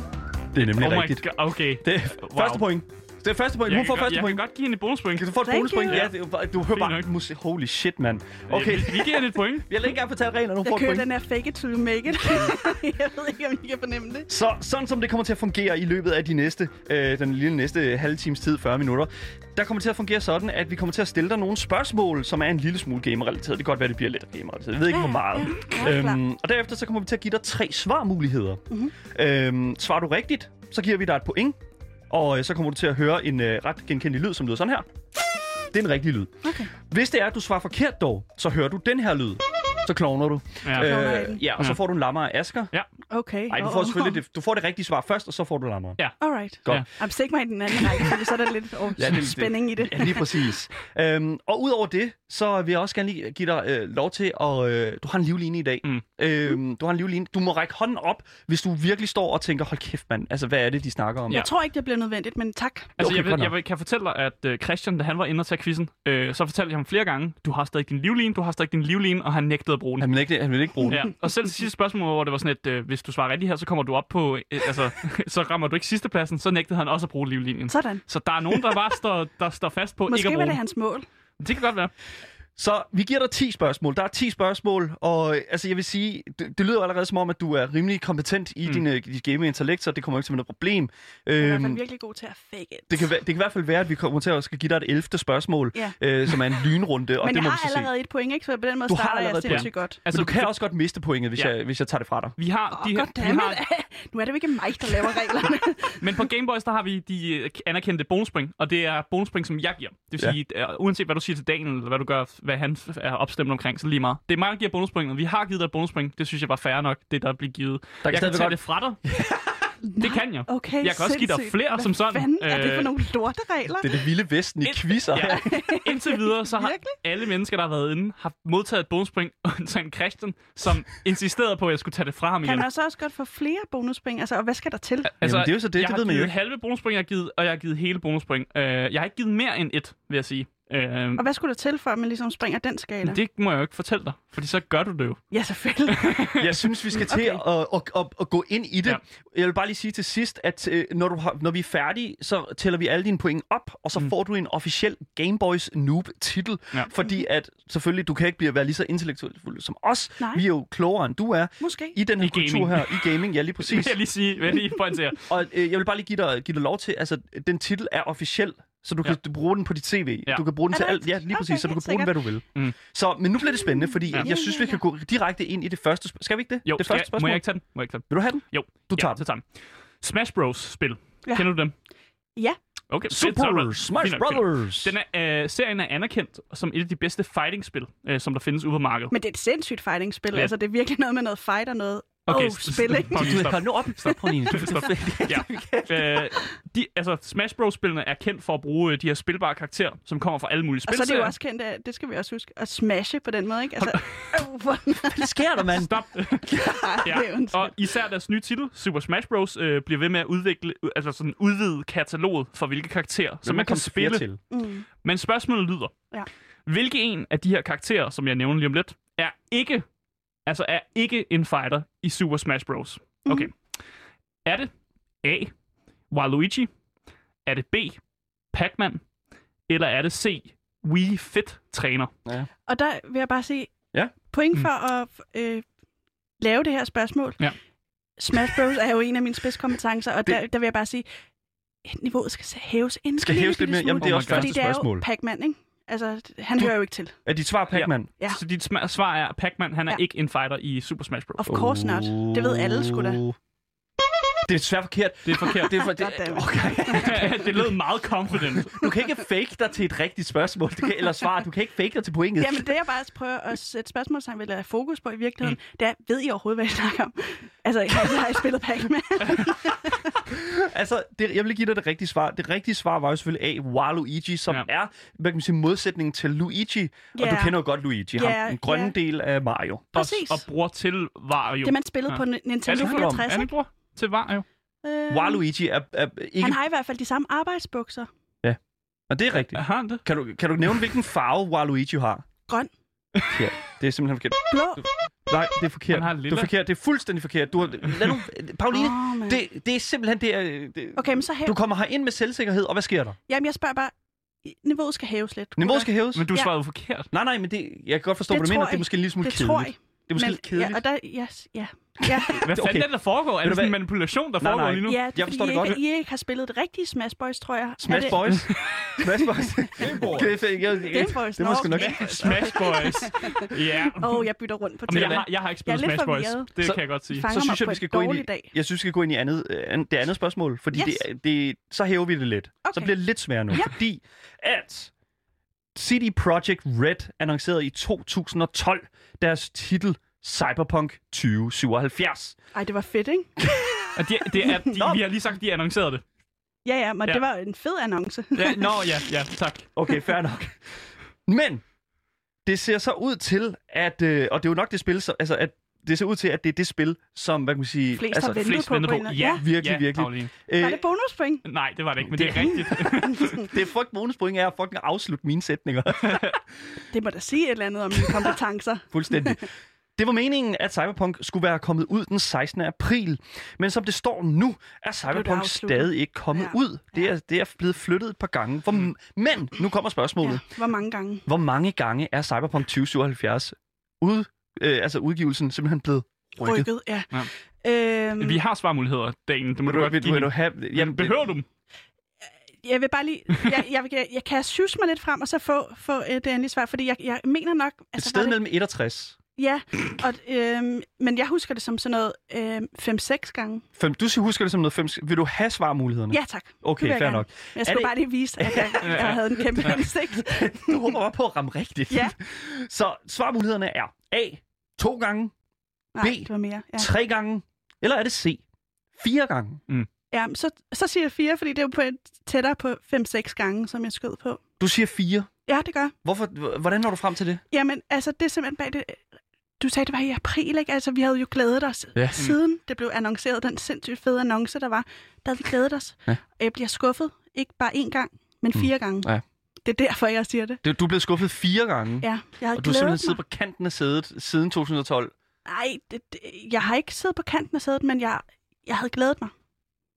Speaker 3: Det er nemlig
Speaker 2: Oh my
Speaker 3: rigtigt.
Speaker 2: god, okay.
Speaker 3: Det er wow. første point. Det er første point.
Speaker 2: Jeg
Speaker 3: Hun
Speaker 2: kan
Speaker 3: får
Speaker 2: godt-
Speaker 3: første
Speaker 2: jeg
Speaker 3: point.
Speaker 2: kan godt give hende et bonuspoint.
Speaker 3: Kan du få et
Speaker 7: Thank
Speaker 3: bonuspoint?
Speaker 7: you.
Speaker 3: Ja, det, var- du hører
Speaker 2: Fint
Speaker 3: bare
Speaker 2: nok.
Speaker 3: musik. Holy shit, mand. Okay,
Speaker 2: Vi, vi giver hende et point.
Speaker 3: jeg vil ikke gerne fortælle reglerne, hun
Speaker 7: Jeg
Speaker 3: får et
Speaker 7: kører
Speaker 3: point.
Speaker 7: den her fake it till you
Speaker 3: *laughs*
Speaker 7: make it. jeg ved ikke, om I kan fornemme det.
Speaker 3: Så sådan som det kommer til at fungere i løbet af de næste, øh, den lille næste halve times tid, 40 minutter, der kommer til at fungere sådan, at vi kommer til at stille dig nogle spørgsmål, som er en lille smule gamerrelateret. Det kan godt være, det bliver lidt gamerrelateret. Jeg ved ikke, hvor meget.
Speaker 7: Ja, Mhm. ja, øhm,
Speaker 3: og derefter så kommer vi til at give dig tre svarmuligheder. Mm-hmm. Øhm, svarer du rigtigt, så giver vi dig et point. Og øh, så kommer du til at høre en øh, ret genkendelig lyd, som lyder sådan her. Det er en rigtig lyd. Okay. Hvis det er, at du svarer forkert dog, så hører du den her lyd. Så klovner du. Øh,
Speaker 2: Ja.
Speaker 7: Klovner jeg den?
Speaker 3: ja, og så
Speaker 2: Ja.
Speaker 3: får du en lammer af Asker.
Speaker 7: okay.
Speaker 3: Nej, du får selvfølgelig det, du får det rigtige svar først, og så får du lammer.
Speaker 7: *laughs*
Speaker 2: Ja.
Speaker 7: Alright.
Speaker 3: Godt.
Speaker 2: Ja.
Speaker 7: Jamen, stik mig i den anden række, fordi så er der lidt oh,
Speaker 3: Ja,
Speaker 7: ja,
Speaker 3: det- det-
Speaker 7: spænding i det.
Speaker 3: Ja, lige
Speaker 7: *laughs*
Speaker 3: præcis. øhm, og udover det, så vil jeg også gerne lige give dig øh, lov til at... Øh, du har en livline i dag. Mm.
Speaker 2: Mm.
Speaker 3: Øhm, du har en livline. Du må række hånden op, hvis du virkelig står og tænker, hold kæft mand, altså hvad er det, de snakker om?
Speaker 7: Jeg tror ikke, det bliver nødvendigt, men tak.
Speaker 2: Altså,
Speaker 3: Okay,
Speaker 2: jeg, vil,
Speaker 3: godt nok.
Speaker 2: jeg vil, kan fortælle dig, at øh, Christian, da han var inde og tage quizzen, øh, så fortalte jeg ham flere gange, du har stadig din livline, du har stadig din livline, og han nægtede at bruge den.
Speaker 3: Han vil ikke, han vil ikke bruge den.
Speaker 2: Ja. Og selv til sidste spørgsmål, hvor det var sådan, at øh, hvis du svarer rigtigt her, så kommer du op på, øh, altså, *laughs* så rammer du ikke sidstepladsen, så nægtede han også at bruge livlinjen. Så,
Speaker 7: Sådan.
Speaker 2: så der er nogen, der bare står, der står fast på ikke
Speaker 7: Måske
Speaker 2: at
Speaker 7: var
Speaker 2: bruge
Speaker 7: det
Speaker 2: den.
Speaker 7: hans mål.
Speaker 2: Det kan godt være.
Speaker 3: Så vi giver dig 10 spørgsmål. Der er 10 spørgsmål, og øh, altså, jeg vil sige, det, det lyder allerede som om, at du er rimelig kompetent i mm.
Speaker 2: Mm.
Speaker 3: din, øh, dit gaming-intellekt, så det kommer ikke til at være noget problem.
Speaker 7: Han er i hvert
Speaker 3: Øhm,
Speaker 7: fald virkelig god til at fake it.
Speaker 3: det, kan, være- det kan i hvert fald være, at vi kommer til at skal give dig et 11. spørgsmål,
Speaker 7: Ja.
Speaker 3: øh, som er en lynrunde, og
Speaker 7: Men
Speaker 3: det
Speaker 7: jeg
Speaker 3: må vi
Speaker 7: har
Speaker 3: så se.
Speaker 7: allerede et point, ikke? Så på den måde
Speaker 3: Du har
Speaker 7: starter jeg
Speaker 3: allerede et
Speaker 7: sindssygt godt.
Speaker 3: Altså,
Speaker 2: Altså,
Speaker 3: men du kan også godt miste pointet, hvis, ja.
Speaker 2: Ja.
Speaker 3: jeg, hvis jeg tager det fra dig.
Speaker 2: Vi har
Speaker 7: Åh,
Speaker 2: de her,
Speaker 7: godt
Speaker 2: vi har,
Speaker 7: *laughs* Nu er det jo ikke mig, der laver reglerne.
Speaker 2: Men på Game Boys, der har vi de øh, anerkendte bonuspoint, og det er bonuspoint, som jeg giver. Det vil
Speaker 3: Ja.
Speaker 2: sige, ja. uanset hvad du siger til Daniel, eller hvad du gør, hvad han f- er opstemt omkring, så lige meget. Det er mig, der giver bonuspoint, og vi har givet dig et bonuspoint. Det synes jeg var fair nok, det der bliver givet. Der jeg kan
Speaker 3: stadigvæk
Speaker 2: tage
Speaker 3: godt-
Speaker 2: det fra dig.
Speaker 3: *laughs*
Speaker 2: det kan jeg.
Speaker 7: Okay,
Speaker 2: Jeg kan også give dig
Speaker 7: sindssygt.
Speaker 2: flere
Speaker 7: Hvad
Speaker 2: som sådan.
Speaker 7: fanden er det for
Speaker 2: Øh,
Speaker 7: nogle lorteregler?
Speaker 3: Det er det vilde vesten i
Speaker 2: Et-
Speaker 3: quizzer. Ja.
Speaker 2: Ja. Indtil videre, så har
Speaker 7: Virkelig?
Speaker 2: alle mennesker, der har været inde, har modtaget et bonuspoint, *laughs* undtagen Christian, som insisterede på, at jeg skulle tage det fra ham
Speaker 7: Kan
Speaker 2: igen.
Speaker 7: man altså også godt få flere bonuspoint? Altså, og hvad skal der til?
Speaker 3: Jamen, det er jo så det,
Speaker 2: jeg
Speaker 3: det
Speaker 2: har
Speaker 3: ved man jo
Speaker 2: givet Øh,
Speaker 3: ikke.
Speaker 2: halve bonuspoint, jeg har givet, og jeg har givet hele bonuspoint. Uh, jeg har ikke givet mere end et, vil jeg sige. Øh,
Speaker 7: Og hvad skulle der til, for at man ligesom springer den skala? Det...
Speaker 2: det må jeg jo ikke fortælle dig, fordi så gør du det jo. *laughs*
Speaker 7: Ja, selvfølgelig.
Speaker 3: Jeg synes, vi skal til okay. at, at, at, at gå ind i det. Ja.
Speaker 2: Ja.
Speaker 3: Jeg vil bare lige sige til sidst, at øh, når, du har, når vi er færdige, så tæller vi alle dine point op, og så mm. får du en officiel Game Boys Noob-titel. Ja.
Speaker 2: Ja.
Speaker 3: Fordi at selvfølgelig, du kan ikke blive, være lige så intellektuelt fuld som os. Nej.
Speaker 7: Nej.
Speaker 3: Vi er jo klogere, end du er.
Speaker 7: Måske.
Speaker 3: I den her
Speaker 2: I gaming.
Speaker 3: kultur her, i gaming,
Speaker 2: *laughs*
Speaker 3: ja
Speaker 2: Det
Speaker 3: lige
Speaker 2: vil
Speaker 3: præcis.
Speaker 2: jeg lige sige, vil jeg lige pointere.
Speaker 3: Og øh, jeg vil bare lige give dig, give dig lov til, altså den titel er officiel, så du kan ja. bruge den på dit CV. Ja.
Speaker 2: Ja.
Speaker 3: Du kan bruge den
Speaker 7: Er
Speaker 3: til
Speaker 7: det
Speaker 3: alt. Ja,
Speaker 7: rigtigt?
Speaker 3: lige præcis, okay,
Speaker 7: Okay,
Speaker 3: så du kan
Speaker 7: helt
Speaker 3: bruge den, hvad du vil. Mm.
Speaker 2: Mm.
Speaker 3: Så, men nu bliver det spændende, fordi ja.
Speaker 2: Ja.
Speaker 3: jeg synes, vi kan gå direkte ind i det første spørgsmål. Skal vi ikke det?
Speaker 2: Jo,
Speaker 3: det
Speaker 2: skal
Speaker 3: første
Speaker 2: jeg- må jeg ikke tage den? Må jeg ikke tage den?
Speaker 3: Vil du have den?
Speaker 2: Jo.
Speaker 3: Du tager
Speaker 2: ja,
Speaker 3: den.
Speaker 2: så tager den. Smash Bros. spil.
Speaker 7: Ja.
Speaker 2: Ja. Kender du dem?
Speaker 7: Ja.
Speaker 2: Okay, fedt, så er det
Speaker 3: Super
Speaker 2: ret-
Speaker 3: Smash
Speaker 2: fint nok, fint nok.
Speaker 3: Brothers!
Speaker 2: Den er, øh, serien er anerkendt som et af de bedste fighting-spil, øh, som der findes ude på markedet.
Speaker 7: Men det er et sindssygt fighting-spil. Ja.
Speaker 2: Ja.
Speaker 7: Altså, det er virkelig noget med noget fight og noget okay,
Speaker 2: Okay,
Speaker 7: oh,
Speaker 2: s-
Speaker 7: spil, ikke?
Speaker 2: s- fucking stop.
Speaker 3: nu op. Stop,
Speaker 2: *laughs*
Speaker 3: Pauline. Du-
Speaker 7: *laughs*
Speaker 2: Stop. Ja. *laughs* Øh, de, altså, Smash Bros-spillene er kendt for at bruge øh, de her spilbare karakterer, som kommer fra alle mulige
Speaker 7: Og
Speaker 2: spil.
Speaker 7: så er det jo også kendt af, det skal vi også huske, at smashe på den måde, ikke? Altså, øh, *laughs* hvor
Speaker 3: Hvad sker der, mand?
Speaker 2: Stop.
Speaker 7: ja. det er ondt.
Speaker 2: Og især deres nye titel, Super Smash Bros., øh, bliver ved med at udvikle, altså sådan udvide kataloget for hvilke karakterer, som man kan spille.
Speaker 3: Til.
Speaker 7: Mm.
Speaker 2: Men spørgsmålet lyder,
Speaker 7: Ja.
Speaker 2: hvilke en af de her karakterer, som jeg nævner lige om lidt, er ikke, altså er ikke en fighter i Super Smash Bros.
Speaker 7: Mm.
Speaker 2: Okay. Er det A. Waluigi? Er det B. Pac-Man? Eller er det C. Wii Fit Træner?
Speaker 7: Og der vil jeg bare sige,
Speaker 3: Ja. Mm.
Speaker 7: point for at øh, lave det her spørgsmål.
Speaker 2: Ja.
Speaker 7: Smash Bros. er jo en af mine spidskompetencer, og der, der vil jeg bare sige, niveauet skal så hæves en
Speaker 3: Skal
Speaker 7: lille
Speaker 3: hæves lidt
Speaker 7: bitte
Speaker 3: mere? Jamen,
Speaker 7: smule,
Speaker 3: det er
Speaker 2: Oh
Speaker 3: også
Speaker 2: my God.
Speaker 7: fordi
Speaker 3: første
Speaker 7: det er jo
Speaker 3: spørgsmål.
Speaker 7: Pac-Man, ikke? Altså, han hører jo ikke til.
Speaker 3: Er dit svar Pac-Man?
Speaker 7: Ja.
Speaker 2: Så dit sma- svar er, at Pac-Man han er
Speaker 7: Ja.
Speaker 2: ja. ikke en fighter i Super Smash Bros.
Speaker 7: Of course not. Det ved alle sgu da.
Speaker 3: Oh. Det er svært forkert.
Speaker 2: Det er forkert.
Speaker 3: Det er for, det,
Speaker 7: Goddammit.
Speaker 2: *laughs*
Speaker 3: okay.
Speaker 2: det lød meget confident.
Speaker 3: Du kan ikke fake dig til et rigtigt spørgsmål, du kan, eller svar. Du kan ikke fake dig til pointet.
Speaker 7: Jamen, det jeg bare prøver at sætte spørgsmålstegn ved, eller have fokus på i virkeligheden, mm. det er, ved I overhovedet, hvad I snakker om? Altså, jeg har I spillet
Speaker 3: *laughs*
Speaker 7: Pac-Man?
Speaker 3: Altså, det, jeg vil give dig det rigtige svar. Det rigtige svar var jo selvfølgelig A. Waluigi, som ja.
Speaker 2: Ja.
Speaker 3: er, hvad kan man sige, modsætningen til Luigi. Yeah. Og du
Speaker 7: Ja.
Speaker 3: kender jo godt Luigi, yeah.
Speaker 7: Ja,
Speaker 3: ham, den grønne
Speaker 7: ja.
Speaker 3: yeah. del af Mario.
Speaker 7: Præcis.
Speaker 2: Og, og bruger til Altså, Wario.
Speaker 7: Det, man spillede
Speaker 2: Ja.
Speaker 7: på Ni- Nintendo
Speaker 2: Alle bruger-
Speaker 7: 64,
Speaker 2: Anne
Speaker 7: ikke?
Speaker 2: bror til Wario.
Speaker 7: Øh,
Speaker 3: Waluigi er, er ikke...
Speaker 7: Han har i hvert fald de samme arbejdsbukser.
Speaker 3: Og det er rigtigt.
Speaker 2: Er han det?
Speaker 3: Kan du, kan du nævne, hvilken farve Waluigi har?
Speaker 7: Grøn,
Speaker 3: Ja, det er simpelthen forkert.
Speaker 7: blå.
Speaker 3: Nej, det er forkert.
Speaker 2: Han har
Speaker 3: det er
Speaker 2: lilla.
Speaker 3: forkert. Det er fuldstændig forkert. Du har, lad nu, Pauline,
Speaker 7: Åh, mand.
Speaker 3: det, det er simpelthen det, er- det
Speaker 7: Okay, men så hæv...
Speaker 3: Du kommer herind med selvsikkerhed, og hvad sker der?
Speaker 7: Jamen, jeg spørger bare, i- niveauet skal hæves lidt.
Speaker 3: Niveauet
Speaker 7: gutter.
Speaker 3: skal hæves.
Speaker 2: Men du
Speaker 7: Ja.
Speaker 2: svarede jo forkert.
Speaker 3: Nej, nej, men det, jeg kan godt forstå,
Speaker 7: Det
Speaker 3: hvad du
Speaker 7: tror
Speaker 3: mener. Det er
Speaker 7: jeg.
Speaker 3: måske en lille smule
Speaker 7: Det
Speaker 3: kedeligt.
Speaker 7: tror jeg.
Speaker 3: Det er måske lidt kedeligt.
Speaker 7: Ja, og der, yes, ja.
Speaker 3: *laughs*
Speaker 7: Ja,
Speaker 2: Hvad
Speaker 3: Okay.
Speaker 2: fanden er det, der foregår? Er det
Speaker 3: du
Speaker 2: sådan en
Speaker 3: hvad?
Speaker 2: manipulation, der
Speaker 3: Nej,
Speaker 2: foregår
Speaker 3: nej.
Speaker 2: lige nu?
Speaker 7: ja det er
Speaker 3: Jeg forstår
Speaker 7: fordi, I,
Speaker 3: det godt.
Speaker 7: ikke, I ikke har spillet det rigtige Smash Boys, tror jeg. Er
Speaker 3: Smash
Speaker 7: det-
Speaker 3: Boys. *laughs* Smash Boys. Game
Speaker 6: Boys.
Speaker 7: Game Boys,
Speaker 3: Det
Speaker 7: nå.
Speaker 3: må sgu nok.
Speaker 2: Smash
Speaker 7: *laughs*
Speaker 2: Boys. Ja.
Speaker 7: Åh, oh, jeg bytter rundt på
Speaker 2: Men jeg
Speaker 7: det.
Speaker 2: har, jeg har ikke
Speaker 7: Jeg er
Speaker 2: spillet
Speaker 7: lidt
Speaker 2: Smash Boys.
Speaker 7: forvirret.
Speaker 2: Det
Speaker 3: Så-
Speaker 2: kan jeg godt sige.
Speaker 7: Fang-
Speaker 3: Så
Speaker 7: fanger
Speaker 3: synes
Speaker 7: mig
Speaker 3: jeg,
Speaker 7: på
Speaker 3: vi
Speaker 7: en
Speaker 3: skal gå ind i,
Speaker 7: dårlig dag.
Speaker 3: jeg synes, vi skal gå ind i andet, øh, an- det andet spørgsmål, fordi yes.
Speaker 7: Yes.
Speaker 3: det, det, så hæver vi det lidt. Okay. Så
Speaker 7: Okay.
Speaker 3: bliver det lidt sværere nu,
Speaker 7: Ja.
Speaker 3: fordi at CD Projekt Red annoncerede i 2012 deres titel Cyberpunk 2077.
Speaker 7: Ej, det var fedt, ikke?
Speaker 2: Og de, det
Speaker 7: *laughs*
Speaker 2: er,
Speaker 3: Nå.
Speaker 2: de, vi har lige sagt, at de annoncerede det.
Speaker 7: Ja, ja, men
Speaker 2: Ja.
Speaker 7: det var en fed annonce.
Speaker 2: Ja, *laughs*
Speaker 7: *laughs*
Speaker 2: nå, ja, ja, tak.
Speaker 3: Okay, fair nok. Men det ser så ud til, at, øh, og det er jo nok det spil, som, altså, at det ser ud til, at det er det spil, som, hvad kan man sige,
Speaker 7: Flest har
Speaker 3: altså,
Speaker 7: ventet
Speaker 2: flest
Speaker 7: på,
Speaker 2: venter
Speaker 7: på.
Speaker 2: på.
Speaker 7: en eller-
Speaker 2: Ja.
Speaker 3: virkelig,
Speaker 2: ja,
Speaker 3: virkelig.
Speaker 2: Caroline.
Speaker 3: øh,
Speaker 7: Var det
Speaker 3: *laughs*
Speaker 7: bonuspoint?
Speaker 2: Nej, det var det ikke, men det er rigtigt.
Speaker 7: *laughs*
Speaker 3: det er fucking bonuspoint, er at fucking afslutte mine sætninger. *laughs*
Speaker 7: Det må da sige et eller andet om mine kompetencer.
Speaker 3: Fuldstændig. Det var meningen, at Cyberpunk skulle være kommet ud den 16. april, men som det står nu, er Cyberpunk
Speaker 7: afsluttet.
Speaker 3: stadig ikke kommet ja.
Speaker 7: Ja.
Speaker 3: ud. Det er, det er blevet flyttet et par gange. For, men nu kommer spørgsmålet.
Speaker 7: Ja,
Speaker 3: Ja.
Speaker 7: hvor mange gange?
Speaker 3: Hvor mange gange er Cyberpunk 2077 ud, øh, altså udgivelsen simpelthen blevet rykket? rykket.
Speaker 7: Rykket, ja.
Speaker 2: Ja.
Speaker 7: Øhm,
Speaker 2: Vi har svarmuligheder, Dagen. Det må
Speaker 3: Vil
Speaker 2: du
Speaker 3: du,
Speaker 2: godt
Speaker 3: vil, du,
Speaker 2: give.
Speaker 3: vil du
Speaker 2: dem.
Speaker 3: have,
Speaker 2: Jamen, behøver du dem?
Speaker 7: jeg vil bare
Speaker 3: *laughs*
Speaker 7: lige... Jeg, jeg, jeg, jeg kan syge mig lidt frem, og så få, få øh, det endelige svar, fordi jeg, jeg mener nok... altså,
Speaker 3: Et sted
Speaker 7: var det,
Speaker 3: mellem 1 og 60.
Speaker 7: Ja, og, øhm, men jeg husker det som sådan noget øhm, 5-6 gange.
Speaker 3: Fem, du siger- husker det som noget 5. Vil du have svarmulighederne?
Speaker 7: Ja, tak.
Speaker 3: Okay,
Speaker 7: vil jeg
Speaker 3: fair
Speaker 7: gerne.
Speaker 3: nok.
Speaker 7: Jeg skulle
Speaker 3: det-
Speaker 7: bare lige vise, at
Speaker 3: *laughs*
Speaker 7: jeg, jeg havde en kæmpe indsigt. *laughs*
Speaker 3: Du håber bare på at ramme rigtigt.
Speaker 7: Ja.
Speaker 3: *laughs* Så svarmulighederne er A. To gange.
Speaker 7: Nej,
Speaker 3: B.
Speaker 7: det var mere. Ja.
Speaker 3: tre gange, eller er det C? Fire gange.
Speaker 7: Ja, men så, så siger jeg 4, fordi det er jo på et, tættere på 5-6 gange, som jeg skød på.
Speaker 3: Du siger fire.
Speaker 7: Ja, det gør.
Speaker 3: Hvorfor, h- hvordan når du frem til det?
Speaker 7: Jamen, altså, det er simpelthen bag det... Du sagde, det var i april, ikke? Altså, vi havde jo glædet os.
Speaker 3: Ja.
Speaker 7: Siden det blev annonceret, den sindssygt fede annonce, der var, der havde vi glædet os.
Speaker 3: Ja. Mm.
Speaker 7: Og Jeg bliver skuffet, ikke bare én gang, men fire gange.
Speaker 3: Ja.
Speaker 7: Det er derfor, jeg siger det.
Speaker 3: Du, du er blevet skuffet fire gange.
Speaker 7: Ja, jeg har
Speaker 3: og du har
Speaker 7: glædet
Speaker 3: simpelthen
Speaker 7: mig.
Speaker 3: siddet på kanten af sædet siden 2012.
Speaker 7: Nej, det, det, jeg har ikke siddet på kanten af sædet, men jeg, jeg havde glædet mig.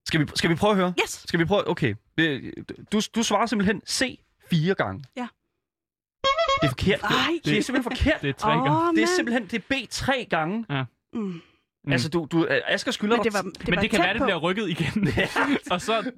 Speaker 3: Skal vi, skal vi prøve at høre?
Speaker 7: Yes!
Speaker 3: Skal vi prøve? Okay. Det- Du, du svarer simpelthen C fire gange.
Speaker 7: Ja.
Speaker 3: Det er forkert. Det,
Speaker 7: Ej,
Speaker 3: det er simpelthen forkert.
Speaker 2: Det er tre gange.
Speaker 7: Åh,
Speaker 3: Det er
Speaker 7: mand.
Speaker 3: simpelthen det er B tre gange.
Speaker 7: Mm.
Speaker 3: Mm. Altså, du, du, Asger skylder
Speaker 7: Men det
Speaker 3: dig-
Speaker 7: var, det
Speaker 2: Men
Speaker 7: var
Speaker 2: det kan
Speaker 7: tæt
Speaker 2: være, det
Speaker 7: på.
Speaker 2: bliver rykket
Speaker 7: *laughs*
Speaker 2: igen. og så, *laughs*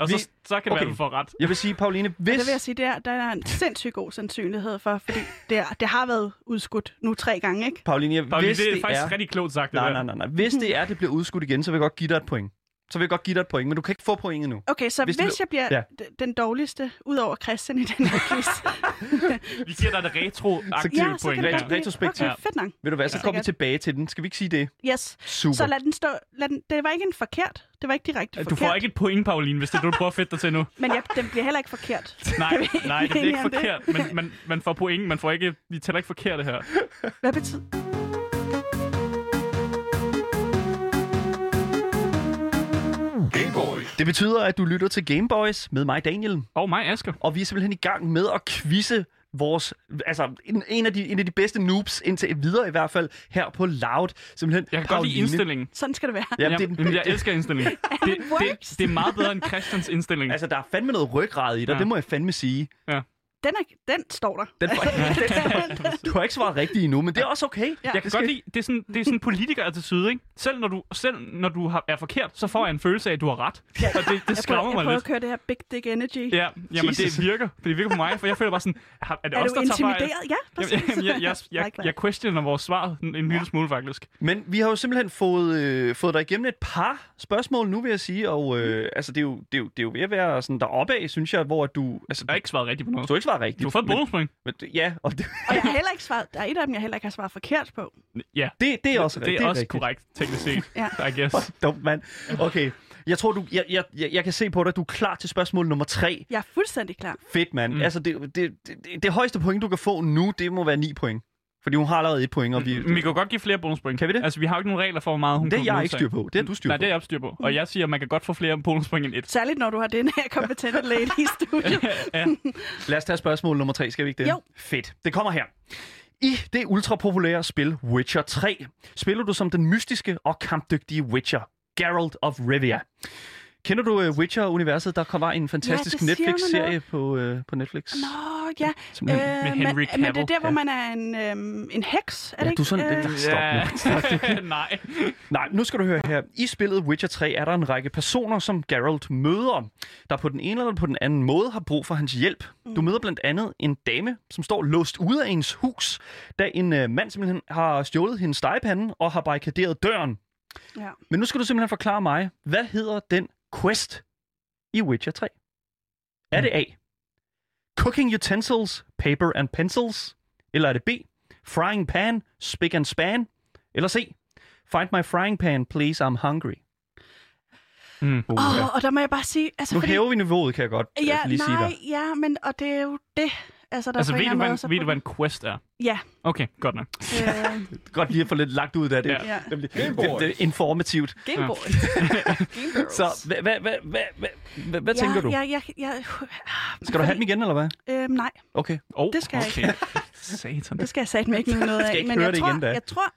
Speaker 2: og
Speaker 3: Vi-
Speaker 2: så, så kan det
Speaker 3: okay.
Speaker 2: være, du får ret.
Speaker 3: Jeg vil sige, Pauline,
Speaker 7: Og
Speaker 3: hvis...
Speaker 7: det vil jeg sige, der, der er en sindssygt god sandsynlighed for, fordi det, er, det har været udskudt nu tre gange, ikke?
Speaker 3: Pauline, jeg-
Speaker 2: Pauli,
Speaker 3: hvis
Speaker 2: det er faktisk
Speaker 3: er...
Speaker 2: rigtig klogt sagt, det
Speaker 3: Nej,
Speaker 2: der.
Speaker 3: nej, nej, nej. Hvis det er, det bliver udskudt igen, så vil jeg godt give dig et point. Så vil jeg godt give dig et point, men du kan ikke få point endnu.
Speaker 7: Okay, så
Speaker 3: Hvis
Speaker 7: hvis,
Speaker 3: det
Speaker 7: hvis jeg bliver
Speaker 3: Ja.
Speaker 7: ja. den dårligste, ud over Christian i
Speaker 3: *laughs*
Speaker 7: den her quiz,
Speaker 2: Vi giver dig et retro-aktivt
Speaker 7: ja, så
Speaker 2: point.
Speaker 7: kan det
Speaker 2: her.
Speaker 7: godt blive...
Speaker 3: Retrospektivt.
Speaker 7: Okay, fedt nok.
Speaker 3: Ved du hvad, så
Speaker 7: Ja.
Speaker 3: kommer vi tilbage til den. Skal vi ikke sige det?
Speaker 7: Yes.
Speaker 3: Super.
Speaker 7: Så lad den stå... Lad den, det var ikke en forkert. Det var ikke
Speaker 2: Du
Speaker 7: direkte forkert.
Speaker 2: får ikke et point, Pauline, hvis det er det, du prøver at fedte dig til nu.
Speaker 7: Men ja, den bliver heller ikke
Speaker 2: *laughs*
Speaker 7: forkert.
Speaker 2: Nej, nej, det er
Speaker 7: enige
Speaker 2: ikke
Speaker 7: om det?
Speaker 2: forkert. Men man, man får point, man får ikke... Vi tæller ikke forkert det her.
Speaker 7: Hvad betyder...
Speaker 6: Game Boys.
Speaker 3: Det betyder, at du lytter til Gameboys med mig, Daniel.
Speaker 2: Og mig, Asger.
Speaker 3: Og vi er simpelthen i gang med at quizze vores, altså en, en, af de, en af de bedste noobs indtil videre i hvert fald, her på Loud. Simpelthen
Speaker 2: Jeg kan godt lide
Speaker 3: Pauline.
Speaker 2: indstillingen.
Speaker 7: Sådan skal det være.
Speaker 3: Ja, det er
Speaker 2: Jamen,
Speaker 3: den,
Speaker 2: jamen, jeg elsker
Speaker 7: *laughs*
Speaker 2: indstillingen. Det,
Speaker 7: works.
Speaker 2: det, det er meget bedre end Christians indstilling.
Speaker 3: altså, der er fandme noget ryggrad i dig, ja.
Speaker 2: Ja.
Speaker 3: det må jeg fandme sige.
Speaker 7: Den, er, den står der. *laughs*
Speaker 2: *laughs*
Speaker 3: Den, *laughs* du har ikke svaret rigtigt endnu, men det er også okay.
Speaker 7: Ja.
Speaker 2: Jeg kan godt lide, det er sådan, det er sådan politiker-attitude, ikke? Selv når du, selv når du har, er forkert, så får jeg en følelse af, at du har ret. Og det, det
Speaker 7: Jeg prøver,
Speaker 2: skræmmer
Speaker 7: jeg
Speaker 2: mig
Speaker 7: prøver at
Speaker 2: lidt.
Speaker 7: køre det her big dick energy.
Speaker 2: Ja, jamen
Speaker 3: Jesus.
Speaker 2: det virker. Det virker på mig, for jeg føler bare sådan, har- er det
Speaker 7: Er
Speaker 2: os,
Speaker 7: du
Speaker 2: der tager fejl?
Speaker 7: intimideret? Ja, præcis. *laughs*
Speaker 2: Jamen, jamen, jeg, jeg, jeg,
Speaker 7: Like that.
Speaker 2: jeg questioner vores svar en, en lille smule, faktisk.
Speaker 3: Men vi har jo simpelthen fået, øh, fået dig igennem et par spørgsmål nu, vil jeg sige. Og
Speaker 2: Mm.
Speaker 3: øh, altså, det, er jo, det, er jo, det er jo ved at være sådan deroppe af, synes jeg, hvor at du... Altså,
Speaker 2: Jeg har ikke svaret rigtigt på noget.
Speaker 3: du har ikke svaret rigtigt.
Speaker 2: Du har fået et
Speaker 3: men-
Speaker 2: bonuspoint.
Speaker 3: men det- Ja, og det, *laughs*
Speaker 7: Og jeg har heller ikke svaret... Der er et af dem, jeg heller ikke har svaret forkert på.
Speaker 2: Ja,
Speaker 3: det, det er også
Speaker 2: det
Speaker 3: rigtigt.
Speaker 2: er også
Speaker 3: rigtigt.
Speaker 2: korrekt, teknisk set,
Speaker 7: *laughs* Ja.
Speaker 2: I guess.
Speaker 3: Hvor Dumt, mand. Okay, jeg tror, du, jeg, jeg, jeg, jeg kan se på dig, du er klar til spørgsmål nummer tre.
Speaker 7: Jeg er fuldstændig klar.
Speaker 3: Fedt, mand. Mm. Altså, det, det, det, det højeste point, du kan få nu, det må være 9 point. Fordi hun har allerede et point, og vi...
Speaker 2: Men vi kan godt give flere bonuspoint.
Speaker 3: Kan vi det?
Speaker 2: Altså, vi har jo ikke nogen regler for, hvor meget hun
Speaker 3: Det er
Speaker 2: kan
Speaker 3: jeg
Speaker 2: modtage.
Speaker 3: ikke styr på. Det er du styr
Speaker 2: Nej,
Speaker 3: på.
Speaker 2: det er jeg ikke styr på. Og jeg siger, at man kan godt få flere bonuspoint end et.
Speaker 7: Særligt, når du har den her
Speaker 2: *laughs*
Speaker 7: kompetente lady i studiet.
Speaker 2: ja.
Speaker 3: Lad os tage spørgsmål nummer 3, skal vi ikke det?
Speaker 7: Jo.
Speaker 3: Fedt. Det kommer her. I det ultrapopulære spil Witcher 3 spiller du som den mystiske og kampdygtige Witcher, Geralt of Rivia. Kender du uh, Witcher-universet? Der kommer en fantastisk
Speaker 7: det siger mig
Speaker 3: Netflix-serie på, uh, på Netflix.
Speaker 7: Nå, ja. Øh,
Speaker 3: Simpelthen.
Speaker 7: men,
Speaker 2: Henry
Speaker 7: men det er
Speaker 2: Cavill,
Speaker 7: der, hvor man er en, øhm, en heks, er det
Speaker 3: Ja,
Speaker 7: ikke?
Speaker 3: du er sådan
Speaker 7: Øh,
Speaker 3: lidt... *laughs* Stop
Speaker 2: *laughs*
Speaker 3: nu.
Speaker 2: Nej.
Speaker 3: Nej, nu skal du høre her. I spillet Witcher 3 er der en række personer, som Geralt møder, der på den ene eller på den anden måde har brug for hans hjælp. Du møder blandt andet en dame, som står låst ude af ens hus, da en øh, mand simpelthen har stjålet hendes stegepande og har barrikaderet døren.
Speaker 7: ja.
Speaker 3: Men nu skal du simpelthen forklare mig, hvad hedder den quest i Witcher 3? Er det A. Cooking utensils, paper and pencils? Eller er det B. Frying pan, spick and span? Eller C. Find my frying pan, please, I'm hungry.
Speaker 2: Mm.
Speaker 7: Åh, og der må jeg bare sige... Altså,
Speaker 3: Nu
Speaker 7: fordi,
Speaker 3: hæver vi niveauet, kan jeg godt ja,
Speaker 7: ja,
Speaker 3: lige sige
Speaker 7: nej,
Speaker 3: dig.
Speaker 7: ja, men og det er jo det. Altså, der
Speaker 2: Altså,
Speaker 7: på en
Speaker 2: ved du,
Speaker 7: eller anden
Speaker 2: hvad,
Speaker 7: måde,
Speaker 2: en-
Speaker 7: så
Speaker 2: ved du,
Speaker 7: burde-
Speaker 2: hvad en quest er?
Speaker 7: Ja.
Speaker 2: Okay, godt nok.
Speaker 3: *laughs*
Speaker 7: Øh,
Speaker 3: Godt lige at få lidt lagt ud af det.
Speaker 2: Ja.
Speaker 7: ja.
Speaker 3: Det, bliver-
Speaker 6: Game
Speaker 3: det, det er informativt.
Speaker 8: Gameboy.
Speaker 3: *laughs* Så hvad, hvad, hvad, hvad, hvad, hvad, hvad
Speaker 7: ja,
Speaker 3: tænker du?
Speaker 7: Ja, ja, ja.
Speaker 3: Skal du have den igen, eller hvad?
Speaker 7: Øhm, nej,
Speaker 3: Okay.
Speaker 2: Oh,
Speaker 7: Det skal jeg
Speaker 2: okay. *laughs* Satan.
Speaker 7: det skal jeg satme ikke nu
Speaker 3: *laughs* Skal
Speaker 7: noget
Speaker 3: jeg
Speaker 7: af.
Speaker 3: ikke
Speaker 7: Men
Speaker 3: høre
Speaker 7: jeg
Speaker 3: det
Speaker 7: tror,
Speaker 3: igen da? Mm.
Speaker 7: jeg tror,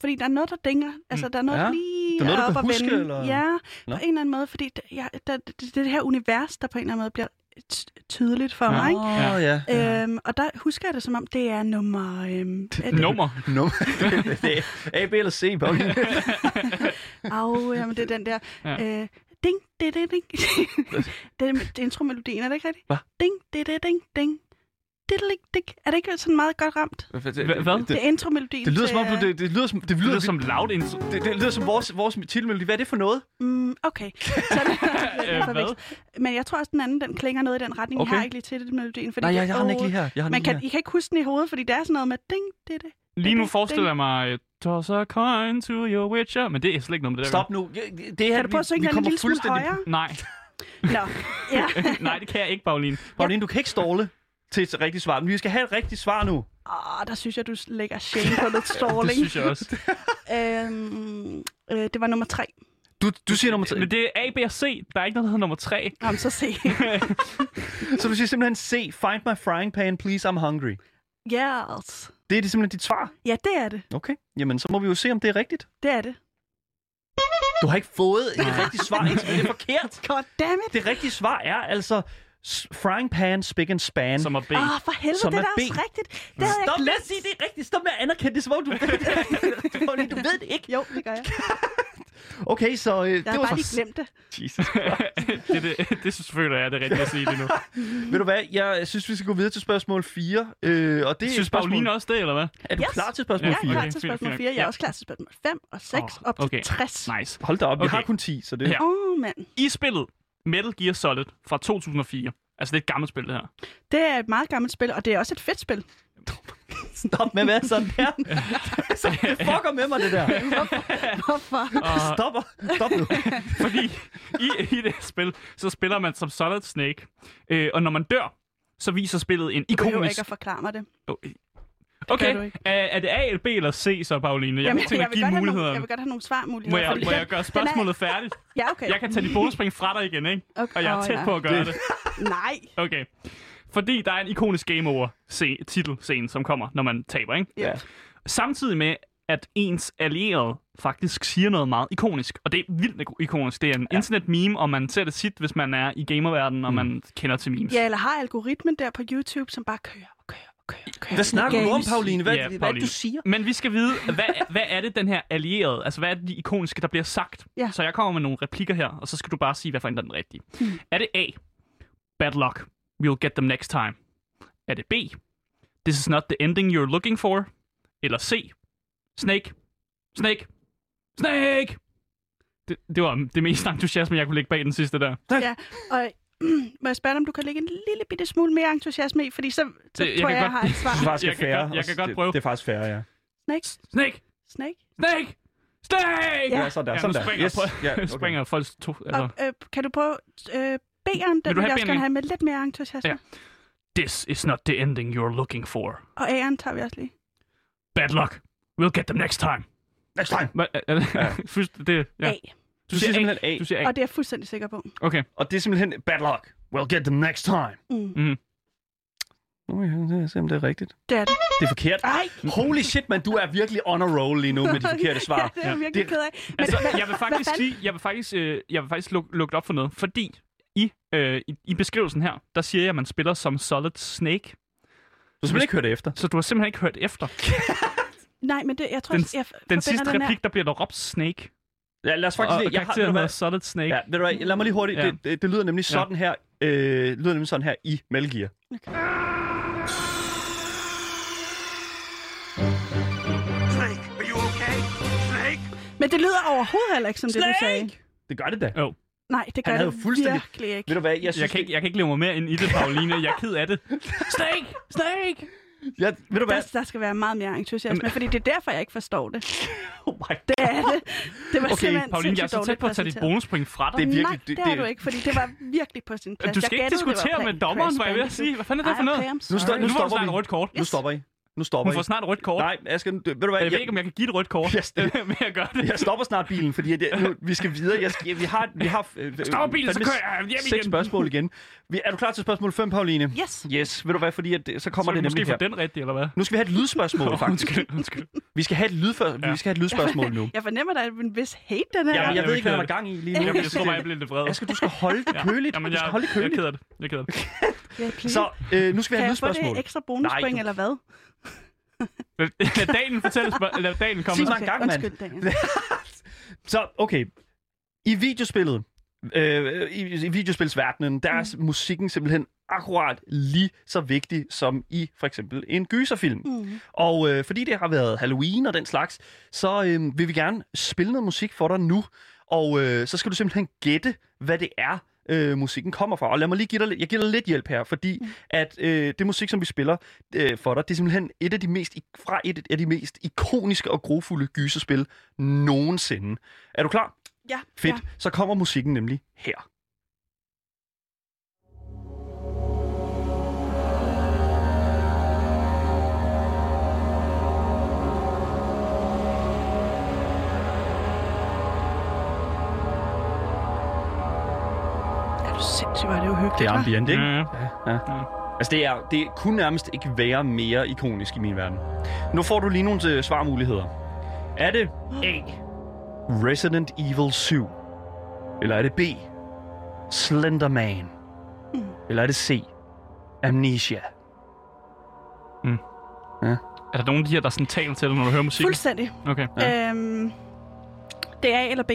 Speaker 7: fordi der er noget, der dinger. Altså, der er noget,
Speaker 3: Ja.
Speaker 7: ja. lige
Speaker 3: Der er noget, du
Speaker 7: op
Speaker 3: kan
Speaker 7: at
Speaker 3: huske,
Speaker 7: vende.
Speaker 3: eller?
Speaker 7: Ja,
Speaker 3: Nå.
Speaker 7: på en eller anden måde. Fordi der, ja, der, det, det, det her univers, der på en eller anden måde bliver ty- tydeligt for mig. Ikke?
Speaker 3: Åh, oh, ja.
Speaker 7: Øhm, og der husker jeg det som om, det er nummer... Øhm, er det,
Speaker 2: Nummer.
Speaker 3: Nummer. *laughs* det er A, B eller C, Pauline.
Speaker 7: Au, jamen, det er den der... Ja. Øh, ding, det, det, ding. *laughs* det er med intromelodien, er det ikke rigtigt?
Speaker 3: Hvad?
Speaker 7: Ding, det, det, ding, ding. Det, det, det, er det ikke sådan meget godt ramt?
Speaker 2: Hva- Hvad?
Speaker 7: Det, det er intromelodien
Speaker 3: Det lyder
Speaker 7: til,
Speaker 3: som om, du,
Speaker 7: øh,
Speaker 3: det, det lyder som, det
Speaker 2: Det
Speaker 3: lyder,
Speaker 2: lyder som loud intro.
Speaker 3: det, det lyder som vores, vores titelmelodi. Hvad er det for noget?
Speaker 7: Mm,
Speaker 3: *laughs*
Speaker 7: okay. Så er det, *laughs* det er
Speaker 2: Øh,
Speaker 7: forvekslet. Men jeg tror også, den anden den klinger noget i den retning. Okay.
Speaker 3: Okay.
Speaker 7: Jeg har ikke lige til det, melodien. Fordi
Speaker 3: Nej, jeg,
Speaker 7: det-
Speaker 3: jeg har den ikke
Speaker 7: åh,
Speaker 3: lige her. Jeg har den
Speaker 7: Man
Speaker 3: ikke
Speaker 7: kan,
Speaker 3: lige
Speaker 7: I kan ikke huske den i hovedet, fordi det er sådan noget med ding, det, det.
Speaker 2: Lige nu forestiller jeg mig, øh, toss a coin to your witcher. Men det er slet ikke noget med
Speaker 3: her.
Speaker 2: det der.
Speaker 3: Stop nu. Jeg- Det her,
Speaker 7: Kan du prøve at synge
Speaker 3: vi
Speaker 7: den en
Speaker 3: kommer
Speaker 7: lille smule
Speaker 3: fuldstændig- *laughs*
Speaker 7: højere?
Speaker 2: Nej, *laughs*
Speaker 7: Nå, ja. *laughs*
Speaker 2: nej, det kan jeg ikke, Pauline.
Speaker 3: Pauline, du kan ikke ståle til et rigtigt svar. Men vi skal have et rigtigt svar nu.
Speaker 7: Åh, der synes jeg, du
Speaker 3: *laughs*
Speaker 7: lægger shame på lidt
Speaker 2: Det
Speaker 7: *laughs* stalling.
Speaker 2: synes jeg også.
Speaker 7: øhm, øh, det var nummer tre.
Speaker 3: Du, du siger nummer 3.
Speaker 2: Men det er A, B og C. Der er ikke noget, der hedder nummer
Speaker 7: *laughs*
Speaker 2: 3.
Speaker 7: Jamen, så se.
Speaker 3: Så du siger simpelthen C. Find my frying pan, please, I'm hungry.
Speaker 7: yes.
Speaker 3: Det er det simpelthen dit svar.
Speaker 7: altså. Ja, det er det.
Speaker 3: Okay. Jamen, så må vi jo se, om det er rigtigt.
Speaker 7: Det er det.
Speaker 3: Du har ikke fået et rigtigt svar. indtil videre. Det er
Speaker 7: *laughs*
Speaker 3: forkert.
Speaker 7: God damn it.
Speaker 3: Det rigtige svar er altså s- frying pan, spick and span.
Speaker 2: Som er B.
Speaker 7: Åh, oh, for helvede,
Speaker 3: Som
Speaker 7: det
Speaker 3: er
Speaker 7: er da
Speaker 3: B.
Speaker 7: også rigtigt. Det havde
Speaker 3: Stop
Speaker 7: jeg
Speaker 3: med at
Speaker 7: glemt.
Speaker 3: sige, det er rigtigt. Stop med at anerkende det, som om du ved det. du ved det ikke.
Speaker 7: *laughs* Jo, det gør jeg.
Speaker 3: Okay, så øh, det
Speaker 7: Jeg
Speaker 3: var
Speaker 7: havde bare
Speaker 3: så...
Speaker 7: lige glemt det.
Speaker 2: Jesus. *laughs* det, det, det synes føler jeg, det er rigtigt at sige lige
Speaker 7: *laughs*
Speaker 2: nu.
Speaker 3: Ved du hvad, jeg synes, vi skal gå videre til spørgsmål 4. Øh, og det er
Speaker 2: Synes
Speaker 3: spørgsmål...
Speaker 2: Pauline også det, eller hvad?
Speaker 3: Er du
Speaker 7: Yes.
Speaker 3: klar til spørgsmål
Speaker 7: Jeg
Speaker 2: Ja,
Speaker 3: 4?
Speaker 7: er klar
Speaker 2: okay,
Speaker 7: til
Speaker 2: fint,
Speaker 7: spørgsmål
Speaker 2: fint.
Speaker 7: 4. Jeg er
Speaker 2: Ja.
Speaker 7: også klar til spørgsmål 5 og 6
Speaker 2: Åh,
Speaker 7: op til
Speaker 2: okay.
Speaker 7: 60.
Speaker 2: Nice.
Speaker 3: Hold da op, okay. vi
Speaker 2: Okay.
Speaker 3: har kun 10, så det...
Speaker 2: Ja.
Speaker 7: Åh, oh, mand.
Speaker 2: I spillet Metal Gear Solid fra 2004. Altså, det er et gammelt spil,
Speaker 7: *laughs*
Speaker 2: det her.
Speaker 7: Det er et meget gammelt spil, og det er også et fedt spil.
Speaker 3: *laughs* Stop med at være sådan
Speaker 2: *laughs*
Speaker 3: der. så det fucker med mig, det der.
Speaker 7: *laughs* Hvorfor?
Speaker 2: Og,
Speaker 3: Stop, stop nu.
Speaker 2: fordi i, i det spil, så spiller man som Solid Snake. Øh, og når man dør, så viser spillet en
Speaker 7: Du behøver
Speaker 2: ikonisk...
Speaker 7: ikke at forklare mig det. gør du
Speaker 2: Okay,
Speaker 7: ikke.
Speaker 2: er, er det A, eller B eller C så, Pauline? Jeg
Speaker 7: Jamen,
Speaker 2: Jamen, tænker,
Speaker 7: jeg,
Speaker 2: at
Speaker 7: vil
Speaker 2: give
Speaker 7: godt have nogle, jeg
Speaker 2: mulighederne.
Speaker 7: vil godt have nogle
Speaker 2: Må
Speaker 7: svarmuligheder.
Speaker 2: jeg,
Speaker 7: fordi
Speaker 2: må
Speaker 7: den-
Speaker 2: jeg gøre
Speaker 7: den er-
Speaker 2: spørgsmålet færdigt?
Speaker 7: *laughs* Ja, okay.
Speaker 2: Jeg kan tage de bonuspring fra dig igen, ikke?
Speaker 7: okay.
Speaker 2: Og jeg er
Speaker 7: Åh,
Speaker 2: tæt
Speaker 7: ja.
Speaker 2: på at gøre det.
Speaker 7: Nej.
Speaker 2: Okay. Fordi der er en ikonisk Game Over se- titelscene, som kommer, når man taber, ikke?
Speaker 7: Ja.
Speaker 2: Samtidig med, at ens allierede faktisk siger noget meget ikonisk. Og det er vildt ik- ikonisk. Det er en ja. Mm. internet-meme, og man ser det sit, hvis man er i gamerverdenen, og man kender til memes.
Speaker 7: Ja, eller har algoritmen der på YouTube, som bare kører og kører og kører og kører.
Speaker 3: Hvad snakker du om,
Speaker 7: Games.
Speaker 3: Pauline? Hvad,
Speaker 2: Ja,
Speaker 3: hvad er det,
Speaker 2: Pauline.
Speaker 3: du siger?
Speaker 2: Men vi skal vide, hvad, hvad er det, den her allierede, altså hvad er det, de ikoniske, der bliver sagt?
Speaker 7: Ja.
Speaker 2: Så jeg kommer med nogle replikker her, og så skal du bare sige, hvad for en der er den rigtige. Hmm. Er det A? Bad luck. We'll get them next time. Er det B? This is not the ending you're looking for. Eller C? Snake. Snake. Snake! Det, det var det mest entusiasme, jeg kunne lægge bag den sidste der.
Speaker 7: Ja, og *clears throat* må jeg spørge dig, om du kan lægge en lille bitte smule mere entusiasme i, fordi så, så
Speaker 2: Det- jeg
Speaker 7: tror
Speaker 2: kan
Speaker 7: jeg, jeg
Speaker 2: godt-
Speaker 7: har et svar.
Speaker 3: Det er faktisk
Speaker 2: Jeg kan
Speaker 3: fair.
Speaker 2: godt- jeg kan godt
Speaker 3: Det-
Speaker 2: prøve.
Speaker 3: Det er faktisk fair, ja.
Speaker 7: Snake?
Speaker 2: Snake!
Speaker 7: Snake?
Speaker 2: Snake! Snake!
Speaker 7: Ja.
Speaker 3: Ja, sådan der.
Speaker 2: Ja, nu
Speaker 3: Sådan der.
Speaker 2: springer,
Speaker 3: Yes.
Speaker 2: på,
Speaker 3: Ja,
Speaker 2: okay.
Speaker 3: okay.
Speaker 2: springer folk to... Altså.
Speaker 7: Og, øh, kan du prøve øh, B'eren? Den
Speaker 2: Vil du
Speaker 7: vil jeg
Speaker 2: have
Speaker 7: også
Speaker 2: B'eren?
Speaker 7: gerne have med lidt mere entusiasme.
Speaker 2: Ja. This is not the ending you're looking for.
Speaker 7: Og A'eren tager vi også lige.
Speaker 2: Bad luck. We'll get them next time.
Speaker 3: Next time.
Speaker 2: Hvad, er, er det? *laughs* Ja. det,
Speaker 7: Ja.
Speaker 2: ja.
Speaker 7: A.
Speaker 3: Du siger simpelthen A,
Speaker 2: Du siger A.
Speaker 7: Og det er jeg fuldstændig sikker på.
Speaker 2: Okay.
Speaker 3: og det er simpelthen bad luck. We'll get them next time.
Speaker 7: Mm.
Speaker 2: Mhm.
Speaker 3: Nu må jeg se, om det er rigtigt.
Speaker 7: Det er det.
Speaker 3: Det er forkert.
Speaker 7: Ej!
Speaker 3: Holy shit, man, du er virkelig on a roll lige nu med de forkerte svar.
Speaker 7: *laughs* ja, det er jeg virkelig
Speaker 3: Det-
Speaker 7: ked af. Men,
Speaker 2: Altså,
Speaker 7: hvad-
Speaker 2: jeg vil
Speaker 7: hvad
Speaker 2: faktisk
Speaker 7: fanden?
Speaker 2: sige, jeg vil faktisk, øh, jeg vil faktisk luk, lukke op for noget, fordi i, øh, i, i beskrivelsen her, der siger jeg, at man spiller som Solid Snake,
Speaker 3: Du har simpelthen ikke hørt efter.
Speaker 2: så du har simpelthen ikke hørt efter.
Speaker 7: Nej, men det, jeg tror,
Speaker 2: Den-
Speaker 7: den, jeg
Speaker 2: Den
Speaker 7: forbinder
Speaker 2: sidste
Speaker 7: den her-
Speaker 2: replik, der bliver der råbt Snake,
Speaker 3: Ja, lad os faktisk
Speaker 2: og, og
Speaker 3: lige... Jeg har, ved
Speaker 2: karakteren
Speaker 3: du
Speaker 2: hedder
Speaker 3: hvad?
Speaker 2: Solid Snake.
Speaker 3: Ja, ved du hvad, lad mig lige hurtigt.
Speaker 2: Ja.
Speaker 3: Det, det, det lyder nemlig sådan her. Øh, lyder nemlig sådan her i Metal Gear.
Speaker 7: Men det lyder overhovedet heller ikke som det, du sagde.
Speaker 3: Det gør det da.
Speaker 2: Jo.
Speaker 7: Nej, det gør
Speaker 3: Han havde
Speaker 7: det
Speaker 3: fuldstændig-
Speaker 7: virkelig ikke.
Speaker 3: Ved du hvad, jeg synes...
Speaker 2: Øh. Jeg kan, ikke, jeg kan ikke leve mig mere ind i det, Pauline. Jeg er ked
Speaker 7: *laughs*
Speaker 2: af det. Snake! Snake!
Speaker 3: jeg, ved du hvad?
Speaker 7: Der, der skal være meget mere entusiasme, fordi det er derfor, jeg ikke forstår det.
Speaker 3: Oh my
Speaker 7: *laughs* Det er det. Det var
Speaker 3: Okay,
Speaker 7: simpelthen
Speaker 2: Pauline, jeg er
Speaker 7: sindssygt
Speaker 2: så tæt
Speaker 7: dårligt Mm.
Speaker 2: på at tage dit
Speaker 7: præsenteret.
Speaker 2: bonuspoint fra dig.
Speaker 3: Det er virkelig-
Speaker 7: Nej,
Speaker 3: det-
Speaker 7: det, det er
Speaker 3: det-
Speaker 7: du ikke, fordi det var virkelig på sin plads.
Speaker 2: Du skal ikke
Speaker 7: jeg gættede, det var
Speaker 2: diskutere
Speaker 7: plan-
Speaker 2: med dommeren, var jeg ved at
Speaker 7: Crash
Speaker 2: sige. Hvad fanden er det for noget?
Speaker 7: Bandicoot. Ej, okay, I'm
Speaker 3: Nu står-
Speaker 7: sorry.
Speaker 2: Nu, nu får du
Speaker 3: stopper
Speaker 2: snart
Speaker 3: vi.
Speaker 2: et rødt kort.
Speaker 3: Nu stopper I. Nu stopper
Speaker 2: Hun får
Speaker 3: I.
Speaker 2: snart et rødt kort.
Speaker 3: Nej, Asger, nu- ved du hvad?
Speaker 2: jeg ved ikke, om jeg kan give et rødt
Speaker 3: *laughs*
Speaker 2: kort øh,
Speaker 3: Yes, det-
Speaker 2: med at gøre det.
Speaker 3: jeg stopper snart bilen, fordi det, nu, vi skal videre. Jeg skal, vi har, vi har øh,
Speaker 2: Stop bilen, så
Speaker 3: fandme
Speaker 2: kører jeg hjem igen.
Speaker 3: Seks spørgsmål igen. Vi, er du klar til spørgsmål 5, Pauline?
Speaker 7: Yes.
Speaker 3: Yes, ved du hvad, fordi at, det- så
Speaker 2: Så
Speaker 3: kommer
Speaker 2: er
Speaker 3: det
Speaker 2: det måske
Speaker 3: nemlig her.
Speaker 2: for den rigtige, eller hvad?
Speaker 3: Nu skal vi have et lydspørgsmål, faktisk.
Speaker 2: Undskyld, undskyld.
Speaker 3: Vi skal have et, lydfør- vi skal have et lydspørgsmål nu.
Speaker 7: Jeg fornemmer, der er en vis hate, den her.
Speaker 3: Ja,
Speaker 2: jeg
Speaker 3: men jeg ved
Speaker 2: er
Speaker 3: ikke, hvad
Speaker 2: ked
Speaker 3: der
Speaker 2: af
Speaker 3: er gang i lige nu.
Speaker 2: Jamen, jeg tror bare, jeg bliver lidt vred.
Speaker 3: Asger, du skal holde det køligt.
Speaker 2: Jamen,
Speaker 3: du
Speaker 2: jeg,
Speaker 3: skal holde det
Speaker 2: jeg er
Speaker 3: køligt.
Speaker 2: ked af det. Jeg er ked af det.
Speaker 7: Ja, please.
Speaker 3: Så øh, nu skal vi have et
Speaker 7: kan jeg få
Speaker 3: lydspørgsmål.
Speaker 7: det ekstra bonuspoint,
Speaker 3: Nej,
Speaker 7: eller hvad?
Speaker 2: Lad *laughs* Daniel fortælle spørg- Lad Daniel komme.
Speaker 3: Sig mig en gang, mand.
Speaker 7: undskyld, Daniel.
Speaker 3: Så, okay. I videospillet, øh, i, i videospilsverdenen, der er mm. musikken simpelthen akkurat lige så vigtig som i for eksempel en gyserfilm.
Speaker 7: Mm.
Speaker 3: Og øh, fordi det har været Halloween og den slags, så øh, vil vi gerne spille noget musik for dig nu. Og øh, så skal du simpelthen gætte, hvad det er, øh, musikken kommer fra. Og lad mig lige give dig, lidt- jeg giver dig lidt hjælp her, fordi at øh, det musik, som vi spiller øh, for dig, det er simpelthen et af de mest, i- fra et af de mest ikoniske og grofulde gyserspil nogensinde. Er du klar?
Speaker 7: Ja,
Speaker 3: Fedt.
Speaker 7: Ja.
Speaker 3: Ja. Så kommer musikken nemlig her.
Speaker 7: Sindssygt var det jo hyggeligt,
Speaker 3: Det er
Speaker 7: hva'?
Speaker 3: ambient, ikke?
Speaker 9: Ja, ja.
Speaker 3: Mm. Altså, det, er, det kunne nærmest ikke være mere ikonisk i min verden. Nu får du lige nogle øh, svarmuligheder. Er det A.
Speaker 2: Øh,
Speaker 3: Resident Evil 7? Eller er det B. Slenderman?
Speaker 7: Mm.
Speaker 3: Eller er det C. Amnesia?
Speaker 2: Er der nogen af de her, der sådan taler til dig, når du hører musik?
Speaker 7: Fuldstændig.
Speaker 2: Okay.
Speaker 7: Ja. Øhm, det er A eller B.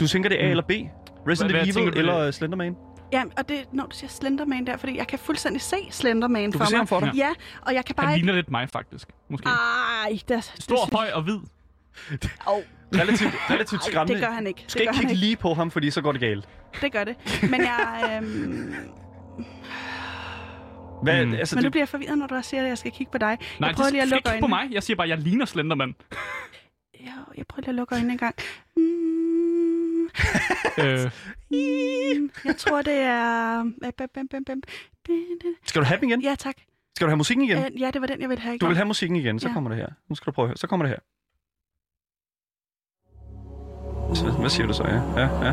Speaker 3: Du tænker, det er A eller B? Resident
Speaker 2: Mm. hvad tænker
Speaker 3: Evil
Speaker 2: du,
Speaker 3: eller øh, Slenderman?
Speaker 7: Ja, og det, når du siger Slenderman der, fordi jeg kan fuldstændig se Slenderman
Speaker 3: Du
Speaker 7: for
Speaker 3: kan se
Speaker 7: mig.
Speaker 3: ham for dig.
Speaker 7: Ja, og jeg kan bare
Speaker 2: Han
Speaker 7: ikke...
Speaker 2: ligner lidt mig, faktisk. Måske.
Speaker 3: Ah,
Speaker 7: Ej, det er... det
Speaker 2: Stor,
Speaker 7: synes-
Speaker 2: høj og hvid.
Speaker 7: Au,
Speaker 2: *laughs*
Speaker 3: Relativt, relativt skræmmende.
Speaker 7: det gør han ikke.
Speaker 3: Du
Speaker 7: Det
Speaker 3: skal
Speaker 7: gør
Speaker 3: ikke
Speaker 7: han
Speaker 3: kigge
Speaker 7: ikke.
Speaker 3: lige på ham, fordi så går det galt.
Speaker 7: Det gør det. Men
Speaker 3: *laughs*
Speaker 7: jeg... Øhm,
Speaker 3: Hvad, mm. altså,
Speaker 7: men nu
Speaker 3: det,
Speaker 7: bliver jeg forvirret, når du også siger, at jeg skal kigge på dig.
Speaker 2: Nej,
Speaker 7: jeg prøver
Speaker 2: det
Speaker 7: lige at
Speaker 2: skal
Speaker 7: lukke
Speaker 2: ikke kigge på
Speaker 7: øjnene.
Speaker 2: mig. Jeg siger bare, jeg ligner Øh, Slenderman.
Speaker 3: *laughs*
Speaker 7: Jeg, jeg prøver lige at lukke øjnene en gang. Mm,
Speaker 2: øh,
Speaker 7: mm, jeg tror, det er... øh, Bam, bam, bam, bam. Det- det-
Speaker 3: skal du have den igen?
Speaker 7: Ja, tak.
Speaker 3: Skal du have musikken igen?
Speaker 7: Øh, Ja, det var den, jeg ville have.
Speaker 3: Du vil have musikken igen, så
Speaker 7: Ja.
Speaker 3: kommer det her. Nu skal du prøve at høre. Så kommer det her.
Speaker 7: Uh.
Speaker 3: Så, hvad siger du så? Ja, ja, ja.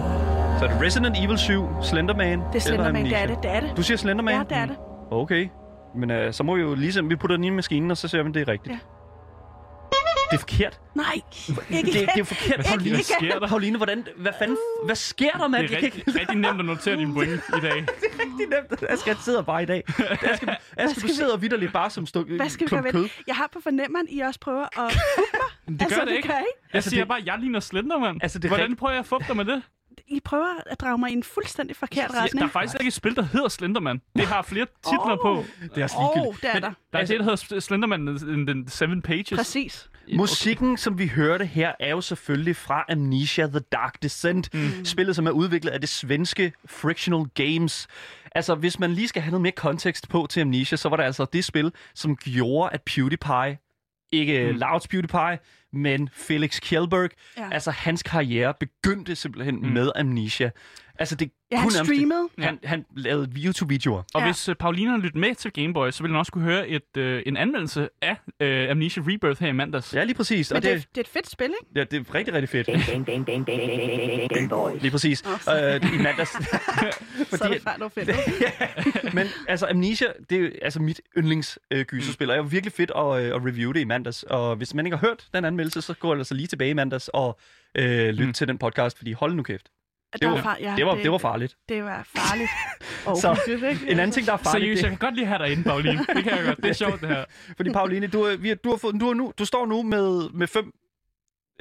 Speaker 3: Så er det Resident Evil 7, Slenderman
Speaker 7: Det er Slenderman, det
Speaker 3: Amnesia?
Speaker 7: er det, det er det.
Speaker 3: Du siger Slenderman?
Speaker 7: Ja, det er det.
Speaker 3: Okay. Men øh, så må vi jo ligesom, vi putter den i maskinen, og så ser vi, om det er rigtigt.
Speaker 7: Ja.
Speaker 3: Det er forkert. *laughs*
Speaker 7: Nej,
Speaker 3: Det,
Speaker 7: ikke
Speaker 3: det er jo
Speaker 7: igen. *laughs*
Speaker 3: forkert.
Speaker 2: Hvad fanden, hvad sker der?
Speaker 3: Pauline, hvordan, hvad fanden, hvad sker der, mand?
Speaker 2: Det er rigtig, rigtig nemt at notere dine point i
Speaker 3: *laughs*
Speaker 2: dag.
Speaker 3: rigtig nemt. Asger, han sidder bare i
Speaker 7: *laughs*
Speaker 3: dag. Asger, Asger
Speaker 7: skal
Speaker 3: du
Speaker 7: vi-
Speaker 3: sidder vidderligt bare som stuk,
Speaker 7: Hvad skal vi gøre
Speaker 3: klump
Speaker 7: ved
Speaker 3: kød.
Speaker 7: det? Jeg har på fornemmeren, I også prøver
Speaker 3: *laughs*
Speaker 7: at...
Speaker 2: Men Det gør
Speaker 7: altså,
Speaker 2: det ikke.
Speaker 7: Gør I.
Speaker 2: Jeg altså, siger det... bare, jeg ligner Slenderman.
Speaker 3: Altså, det er
Speaker 2: Hvordan
Speaker 3: rigtigt.
Speaker 2: prøver jeg at fuppe dig med det?
Speaker 7: I prøver at drage mig i en fuldstændig forkert
Speaker 2: Der
Speaker 7: retning.
Speaker 2: er faktisk ikke et spil, der hedder Slenderman. Det har flere titler på.
Speaker 3: Det er også
Speaker 7: Åh,
Speaker 3: ligegyldigt.
Speaker 7: oh, det er
Speaker 3: Men-
Speaker 7: der.
Speaker 2: Der er det, der hedder Slenderman in the Seven Pages.
Speaker 7: Præcis.
Speaker 3: Musikken, som vi hørte her, er jo selvfølgelig fra Amnesia The Dark Descent. Mm. Spillet, som er udviklet af det svenske Frictional Games. Altså, hvis man lige skal have noget mere kontekst på til Amnesia, så var det altså det spil, som gjorde, at PewDiePie, ikke mm. Louds PewDiePie, men Felix Kjellberg,
Speaker 7: Ja.
Speaker 3: ja. altså hans karriere begyndte simpelthen mm. med Amnesia. Altså, det
Speaker 7: Ja, han
Speaker 3: kunne nærmest-
Speaker 7: streamede.
Speaker 3: Han, han lavede YouTube-videoer.
Speaker 2: Og
Speaker 7: Ja.
Speaker 2: ja. hvis uh, Pauline har lyttet med til Gameboy, så vil hun også kunne høre et, uh, en anmeldelse af uh, Amnesia Rebirth her i mandags.
Speaker 3: Ja, lige præcis.
Speaker 7: Men
Speaker 3: og
Speaker 7: det, er- det er et fedt spil,
Speaker 3: *laughs*
Speaker 7: ikke?
Speaker 3: Ja, det er rigtig, rigtig fedt.
Speaker 7: *laughs*
Speaker 3: Lige præcis.
Speaker 7: Nå.
Speaker 3: Øh, I mandags.
Speaker 7: *laughs* Så er det fart fedt. *laughs*
Speaker 3: Men altså, Amnesia, det er jo, altså mit yndlings øh, gyserspil, og jeg var virkelig fedt at, øh, at review det i mandags. Og hvis man ikke har hørt den anmeldelse, så går altså lige tilbage i mandags og øh, lyt mm. til den podcast, fordi hold nu kæft.
Speaker 7: Der
Speaker 3: var-
Speaker 7: far- ja,
Speaker 3: det var- det var farligt.
Speaker 7: Det var farligt. Og
Speaker 3: *laughs* Så,
Speaker 7: hyggeligt, ikke?
Speaker 3: En anden ting, der er farligt,
Speaker 2: Seriøst, jeg
Speaker 3: det,
Speaker 2: kan godt lige have dig inde, Pauline. Det kan jeg
Speaker 3: *laughs*
Speaker 2: godt. Det er sjovt, det her.
Speaker 3: fordi Pauline, du, er- vi, har- du, har fået, du, har nu, du står nu med, med fem,